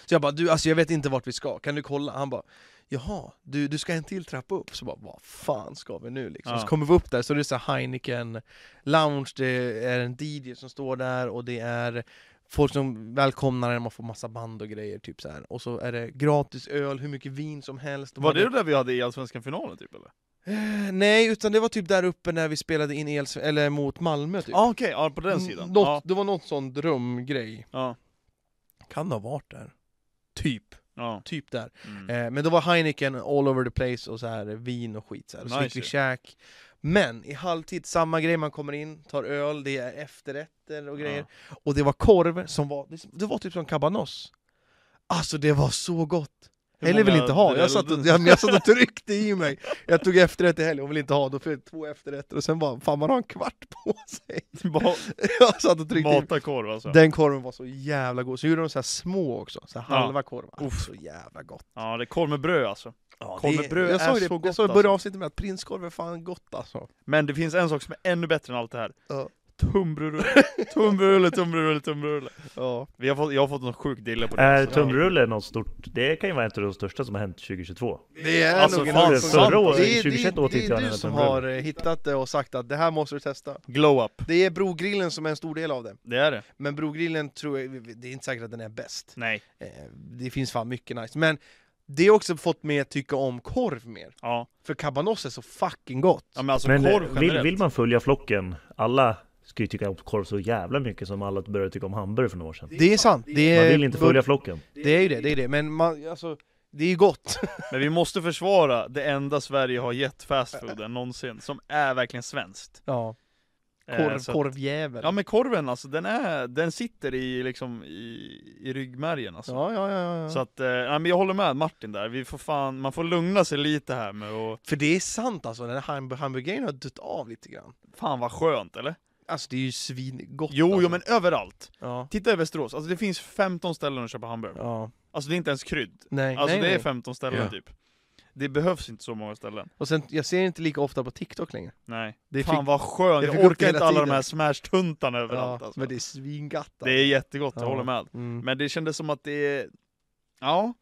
Så jag bara, du alltså jag vet inte vart vi ska, kan du kolla? Han bara Jaha, du, du ska en till trappa upp? Så bara, vad fan ska vi nu liksom?
Ja.
Så kommer vi upp där, så det är så här Heineken Lounge, det är en DJ som står där och det är folk som välkomnar en, man får massa band och grejer typ så här. Och så är det gratis öl, hur mycket vin som helst De
Var det
hade-
där vi hade i Allsvenskan finalen typ eller?
Eh, Nej, utan det var typ där uppe när vi spelade in el, eller mot Malmö typ
Ja ah, okej, ja, på den sidan.
N- något,
Ja,
Det var något sån drömgrej
ja,
Kan ha varit där Typ,
ja.
typ där
Mm.
Eh, Men då var Heineken all over the place och så här vin och skit så här. Och så
Nice
gick vi
ju.
käk Men i halvtid, samma grej, man kommer in, tar öl, det är efterrätter och grejer Och det var korv som var, det- det var typ som cabanos Alltså det var så gott!
Hur
Eller vill
många
inte ha, jag
bröd-
satt, och, jag, men jag satt och tryckte i mig Jag tog efterrätt i helgen och ville inte ha, då fick jag två efterrätter och sen bara, fan man har en kvart på sig
Ba-
Jag satt och tryckte i mig
Mata korv alltså.
Den korven var så jävla god, så gjorde de så här små också, så här
Ja.
halva korvar
Uff.
Så jävla gott
Ja, det är korv med bröd alltså.
Ja,
Korv med bröd
jag
är
sa ju det,
så
Jag
gott,
sa i början av
alltså.
avsnittet med att prinskorv är fan gott alltså.
Men det finns en sak som är ännu bättre än allt det här.
Ja.
Tunnbrödsrulle, tunnbrödsrulle, tunnbrödsrulle, tunnbrödsrulle.
Ja.
Vi har fått, jag har fått någon sjuk dille på det.
Äh,
Är
alltså.
tunnrulle något stort? Det kan ju vara ett av de största som har hänt 2022.
Det är
Alltså,
nog en
fan,
annan
förra
sak.
året,
Det är-
2021 åt
det,
inte
är-
jag
det är
den
du
här
som
tunnbröden.
har eh, hittat det och sagt att det här måste du testa.
Glow up.
Det är brogrillen som är en stor del av det.
Det är det.
Men brogrillen tror jag, det är inte säkert att den är bäst.
Nej.
Eh, Det finns fan mycket nice. Men det har också fått mig att tycka om korv mer.
Ja.
För cabanos är så fucking gott.
ja men alltså
Men
korv
eh,
generellt.
vill, vill man följa flocken, alla ska ju tycka om korv så jävla mycket som alla började tycka om hamburgare för några år sedan.
Det är sant. Det är,
Man vill inte följa flocken.
Det är ju det, det är det. Men man, alltså, det är ju gott.
Men vi måste försvara det enda Sverige har gett fastfooden någonsin, som är verkligen svenskt.
Ja,
Eh,
korv,
så att-
korvjävel.
Ja men korven alltså, den, är, den sitter i, liksom, i, i ryggmärgen alltså.
Ja, ja, ja, ja.
Så att, eh, nej, men jag håller med Martin där, vi får fan, man får lugna sig lite här med och
För det är sant alltså, den här hamb- hamburgaren har dött av lite grann.
Fan vad skönt eller?
Alltså det är ju svingott
Jo,
alltså.
jo men överallt!
Ja,
Titta i Västerås, alltså det finns 15 ställen att köpa hamburgare på.
ja.
Alltså det är inte ens krydd.
Nej,
Alltså
nej,
det är
nej.
15 ställen
Ja.
typ. Det behövs inte så många ställen.
Och sen, jag ser inte lika ofta på TikTok längre.
Nej.
Det
Fan vad
det
skönt, jag
fick upp
orkar
hela
inte alla de
tiden.
här smash-tuntarna
ja,
överallt alltså.
Men det är svingott alltså.
Det är jättegott, jag
Ja.
håller med.
mm.
Men det kändes som att det är... Ja.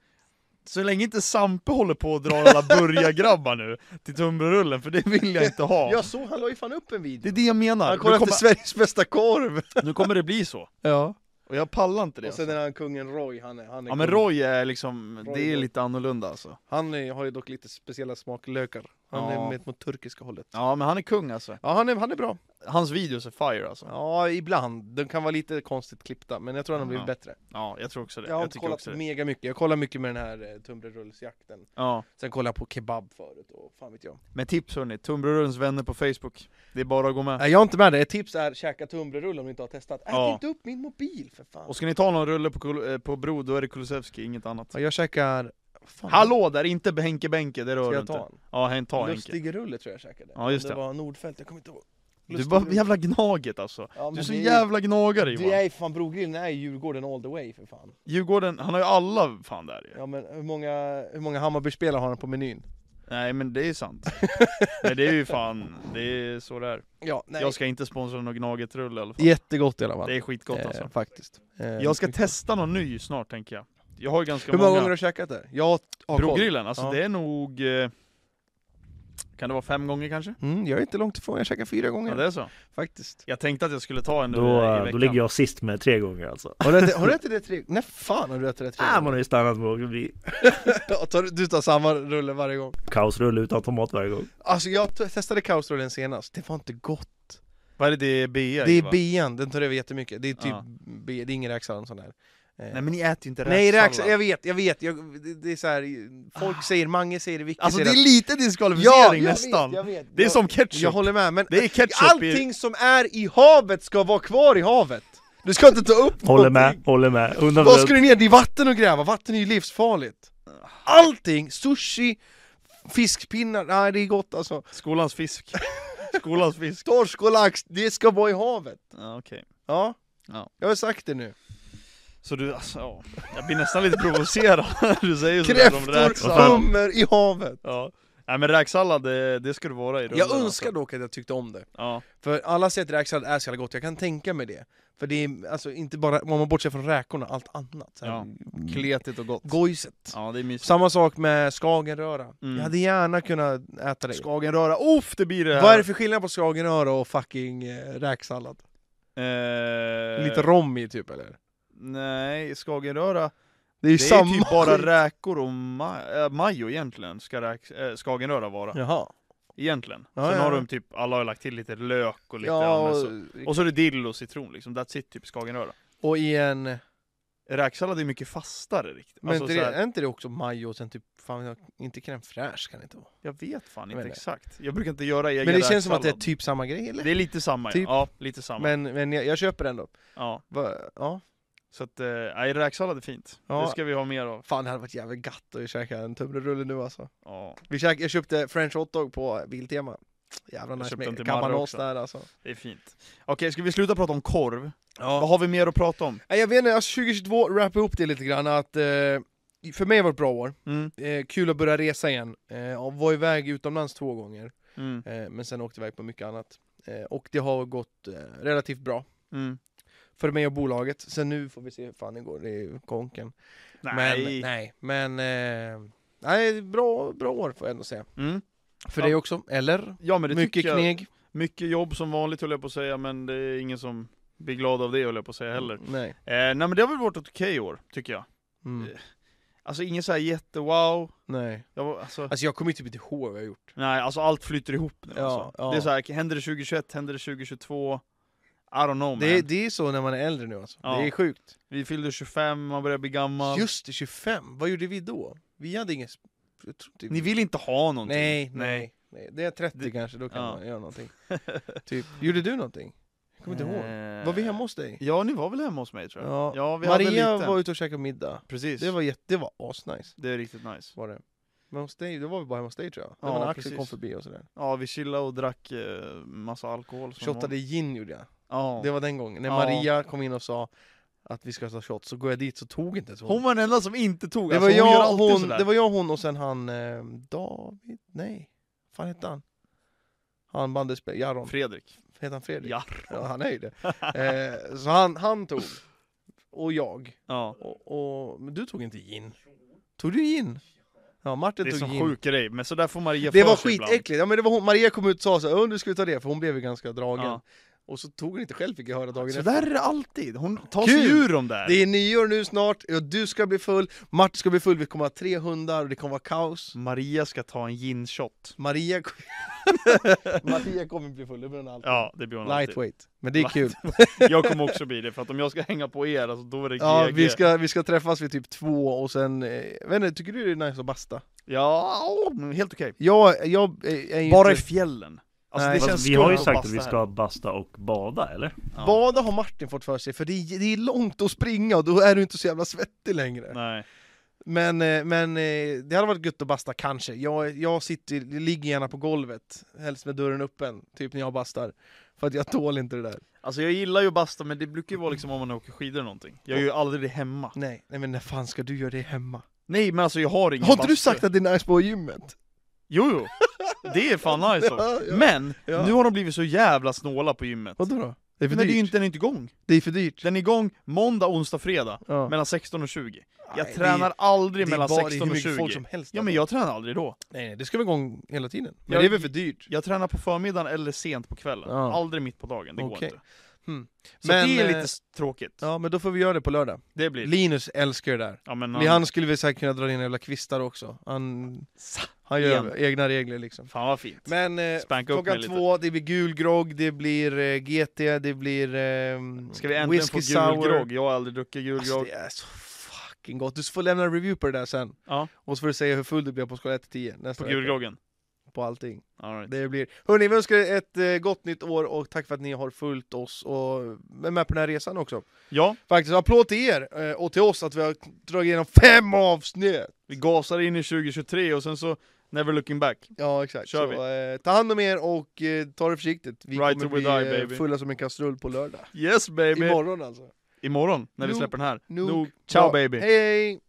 Så länge inte Sampe håller på och drar alla burgargrabbar nu till tunnbrödsrullen, för det vill jag inte ha.
Jag såg, han la ju fan upp en
Det
video.
är det jag menar.
han
Nu
kollar efter
kommer,
Sveriges bästa korv!
nu kommer det bli så.
Ja.
Och jag pallar inte det.
Och sen
alltså.
den här kungen Roy, han är... Han är
Ja men
kung.
Roy är liksom,
Roy
det är
Roy.
lite annorlunda alltså.
Han är, har ju dock lite speciella smaklökar. Han
Ja.
är med mot turkiska hållet.
Ja men han är kung alltså.
Ja, han är, han är bra.
Hans videos är fire alltså.
Ja, ibland. De kan vara lite konstigt klippta, men jag tror han har blivit
Ja.
bättre.
Ja, jag tror också det.
Jag har
Jag
inte
tycker
kollat
också det.
mega mycket, jag kollar mycket med den här eh, tunnbrödsrullsjakten
Ja.
Sen kollar jag på kebab förut och fan vet jag
Men tips hörni, tunnbrödsrullens vänner på Facebook. Det är bara att gå med.
Nej jag är inte med där, ett tips är käka tunnbrödsrulle om du inte har testat Ät
Ja.
inte upp min mobil för fan
Och ska ni ta någon rulle på, Kul- eh, på Bro, då är det Kulusevski, inget annat.
ja, Jag käkar... Fan,
Hallå där, inte Henke Benke, det rör
Ska
du
jag
inte.
ta en?
Ja, hen- ta Henke.
Lustigrulle tror jag käkade
Ja, just
Om det
det.
var Nordfält, jag kommer inte ihåg
Du är bara jävla gnaget alltså.
ja,
Du är
men
så
det
jävla gnagare
Det
Johan.
är fan Brogrillen är ju Djurgården all the way för fan
Djurgården, han har ju alla fan där ju.
Ja men hur många, hur många Hammarbyspelare har han på menyn?
Nej men det är sant. Nej det är ju fan, det är så det är.
Ja, nej.
Jag ska inte sponsra någon gnagetrulle i alla fall.
Jättegott i alla fall.
Det är skitgott alltså.
Eh, faktiskt. Eh,
Jag ska
mycket
testa någon ny snart tänker jag. Jag har ju ganska
gott. Hur många
många
gånger har du käkat det? Jag har koll.
Brogrillen, alltså
Ja.
det är nog... eh, Kan det vara fem gånger kanske?
Mm, jag är inte långt ifrån, jag käkar fyra gånger.
Ja det är så.
Faktiskt.
Jag tänkte att jag skulle ta en nu i
Då, eh,
veckan.
då ligger jag sist med tre gånger alltså.
Har du ätit, har du ätit det tre Nej fan har du ätit det tre
Äh, man har ju stannat på att bli
Ja, tar, du- du tar samma rulle varje gång.
kaosrulle utan tomat varje gång.
Alltså jag t- testade kaosrullen senast, det var inte gott.
Vad är det? Det är BI
Det är
va?
bean, den tar över jättemycket. Det är typ,
Ja.
be, det är ingen räksallad sån här. Eh,
Nej men ni äter ju inte
Nej, räksallad,
räksallad. Ah.
jag vet, jag vet. Jag, det, det är så här, folk säger, Mange säger det, Vicky
Alltså det
säger
är lite
Ja,
diskvalificering
jag
nästan.
Vet, jag vet.
Det är
jag,
som ketchup.
Jag håller med, men
Det är ketchup i-
allting som är i havet ska vara kvar i havet! Du ska inte ta upp
Håller
någonting.
med, håller med. Undan
Vad ska du ner? Det är vatten och gräva, vatten är ju livsfarligt! Allting! Sushi, fiskpinnar, nej det är gott alltså.
Skolans fisk. Skolans fisk.
Torsk och lax, det ska vara i havet!
Ja, Okej.
Ja,
Ja.
jag har sagt det nu.
Så du, alltså, ja. Jag blir nästan lite provocerad när du säger sådär om
Kräftor,
räksallad.
hummer i havet!
Ja. Nej men räksallad, det, det ska du vara i alltså.
Jag önskar dock att jag tyckte om det.
Ja.
För alla säger att räksallad är så jävla gott, jag kan tänka mig det. För det är alltså inte bara, om man bortser från räkorna, allt annat. Så här,
Ja. Kletigt och gott.
Gojset.
Ja det är mysigt.
Samma sak med skagenröra.
Mm.
Jag hade gärna kunnat äta det.
Skagenröra, uff det blir det här!
Vad är det för skillnad på skagenröra och fucking eh, räksallad?
Eh,
Lite rom i typ eller?
Nej, skagenröra,
Det är ju
det är
samma
typ bara
skit.
räkor och ma- äh, majo egentligen, ska räk- äh, skagenröra vara.
Jaha.
Egentligen.
Ja,
Sen
ja,
har
ja.
de typ, alla har lagt till lite lök och lite
Ja,
annat
och,
så. Och så är det dill och citron liksom, that's it typ skagenröra.
och i en...
Räksallad är mycket fastare riktigt.
Men
Alltså,
inte
så
det,
här,
är inte det också majo och sen typ, fan, inte crème fraîche kan det inte vara?
jag vet fan inte
Jag vet inte.
exakt. Jag brukar inte göra egen
Men det känns som att det är
räksallad.
typ samma grej eller?
Det är lite samma,
Typ.
ja. ja lite samma.
Men, men jag, jag köper ändå.
Ja.
Va, ja.
Så att, eh, nej, räksallad är fint.
Ja.
Det ska vi ha mer av.
Fan det hade varit jävligt gatt att käka en tunnbrödsrulle nu alltså.
Ja,
Vi käk, jag köpte french hotdog på Biltema. Jävla nice
köpte en
med
till Marre
cabanos
också.
där alltså.
det är fint. Okej, ska vi sluta prata om korv?
Ja.
Vad har vi mer att prata om?
Nej, Jag vet inte, alltså 2022, wrappa ihop det lite grann att eh, för mig var det ett bra år.
Mm,
Eh, kul att börja resa igen. Eh, jag var iväg utomlands två gånger,
mm,
eh, men sen åkte jag iväg på mycket annat. Eh, och det har gått eh, relativt bra
mm.
för mig och bolaget. Sen nu får vi se hur fan det går, det är ju konken. Men,
Nej.
nej, men eh, nej, bra, bra år får jag ändå säga.
Mm.
För
Ja.
dig också, eller?
Ja men det
Mycket
tycker jag.
kneg?
Mycket jobb som vanligt höll jag på att säga, men det är ingen som blir glad av det höll jag på att säga heller.
Nej.
Eh, nej men det har väl varit ett okej år, tycker jag.
Mm.
Alltså ingen såhär jättewow.
nej.
Jag var, alltså,
Alltså jag kommer ju typ inte ihåg vad jag har gjort.
nej, alltså allt flyter ihop nu
Ja,
alltså.
ja.
Det är såhär, händer det 2021, händer det 2022? I don't know
Det,
man.
det är så när man är äldre nu alltså.
Ja.
Det är sjukt.
Vi fyllde 25, man börjar bli gammal.
Just det, 25! Vad gjorde vi då? Vi hade ingen... sp- Jag tror inte...
Ni vill inte ha någonting.
nej, nej, nej. Det är 30
Det-
kanske, då kan
ja.
man göra någonting. typ. Gjorde du någonting? Jag kommer inte ihåg.
Eh,
Var vi hemma hos dig?
Ja, ni var väl hemma hos mig tror jag.
Ja.
Ja, vi hade
Maria
lite.
var ute och käkade middag.
Precis.
Det var, jätte... det var asnice.
det är riktigt nice.
Var det. Men hos dig, då var vi bara hemma hos dig tror jag.
Ja,
Ja, när Axel
precis.
kom förbi och sådär.
Ja, vi chillade och drack eh, massa alkohol. som
Shottade gin gjorde jag.
vanligt. Ja.
Det var den gången. När
Ja.
Maria kom in och sa att vi ska ta shot, så går jag dit så tog inte ens
Hon var den enda som inte tog.
Det
alltså,
var,
hon gör
jag,
alltid
hon,
sådär.
det var jag, hon och sen han eh, David, nej, vad fan hette han? Han bandespelare, Jaron,
Fredrik.
hette han Fredrik?
Ja.
Ja, han är ju det. Eh, så han, han tog, och jag,
ja.
och, och, men du tog inte gin? Tog du gin? Ja, Martin
Det är
tog
som
gin.
sjuk grej, men så där får Maria
Det
för
var
sig ibland.
skitäckligt, ja, men det var hon, Maria kom ut och sa så här, "Åh, nu ska vi ta det, för hon blev ju ganska dragen.
Ja.
Och så tog hon inte själv fick jag höra dagen
Så
efter.
där är det alltid. Hon tar
Kul!
sig ur dem där.
Det är nyår nu snart, och du ska bli full, Martin ska bli full, vi kommer ha tre hundar och det kommer vara kaos.
Maria ska ta en gin-shot.
Maria, Maria kommer bli full, det blir hon alltid.
Ja, det blir hon alltid.
Lightweight. Men det är
Light-
kul.
Jag kommer också bli det, för att om jag ska hänga på er, alltså, då är det
Ja,
GG.
vi, ska, vi ska träffas vid typ två och sen, eh, jag vet inte, tycker du det är nice att basta?
Ja, men helt okej.
Jag, jag eh, är ju
Bara i
inte...
fjällen. Alltså,
Nej.
det
Fast
känns
Fast vi har ju
skumt
sagt att
passa
vi
här.
ska basta och bada eller?
Ja.
Bada har Martin fått för sig, för det är, det är långt att springa och då är du inte så jävla svettig längre.
Nej.
Men, eh, men eh, det hade varit gött att basta kanske. Jag, jag sitter, ligger gärna på golvet, helst med dörren öppen, typ när jag bastar. För att jag tål inte det där.
Alltså jag gillar ju att basta, men det brukar ju vara liksom om man åker skidor eller någonting. Jag gör ju aldrig det hemma.
Nej, nej men när fan ska du göra det hemma?
Nej men alltså jag har ingen
Har inte du
bastu.
sagt att det är nice på gymmet?
Jo, jo. Det är fan nice
Ja,
också.
ja.
Men,
Ja.
nu har de blivit så jävla snåla på gymmet.
Vadå då? Det är för
Men det är
dyrt.
ju inte, den är inte igång.
Det är för dyrt.
Den är igång måndag, onsdag, fredag.
Ja.
Mellan 16 och 20.
Nej,
Jag
det-
tränar aldrig mellan
bara- det är
16 och
hur mycket folk
20.
som helst.
Ja men jag tränar aldrig då.
Nej, nej, det ska vara igång hela tiden. Men
Jag-
det är väl för dyrt?
Jag tränar på förmiddagen eller sent på kvällen.
Ja.
Aldrig mitt på dagen, det går
Okej.
inte.
Hmm.
Så
Men,
det är lite
eh,
s- tråkigt.
Ja, men då får vi göra det på lördag.
Det blir det.
Linus älskar det där.
Ja, men
Men han skulle väl säkert kunna dra in jävla kvistar också. Han,
Sa-
han gör
igen.
egna regler liksom.
Fan vad fint.
Men eh,
Spanka upp mig
klockan
lite.
två, det blir gul grogg, det blir eh, GT, det blir eh,
Ska vi äntligen få
whisky
gul
sour.
grogg? Jag har aldrig druckit gul
Alltså,
grogg.
det är så fucking gott. Du får lämna en review på det där sen.
Ja.
Och så får du säga hur full du blev på skala 1-10 nästa
På
vecka.
gulgroggen?
På allting.
All right.
Det blir... Hörni, vi önskar er ett eh, gott nytt år och tack för att ni har följt oss och är med på den här resan också.
Ja,
Faktiskt, applåd till er eh, och till oss att vi har dragit igenom fem avsnitt!
vi gasar in i 2023 och sen så never looking back.
Ja, exakt.
Kör
så, eh, ta hand om er och eh, ta det försiktigt. Vi
Right
kommer
till we
bli
die,
eh,
baby.
fulla som en kastrull på lördag.
Yes baby!
Imorgon alltså.
Imorgon när vi
Nog-
släpper den här.
nog
Nog. Ciao
bra.
baby!
Hej, hej!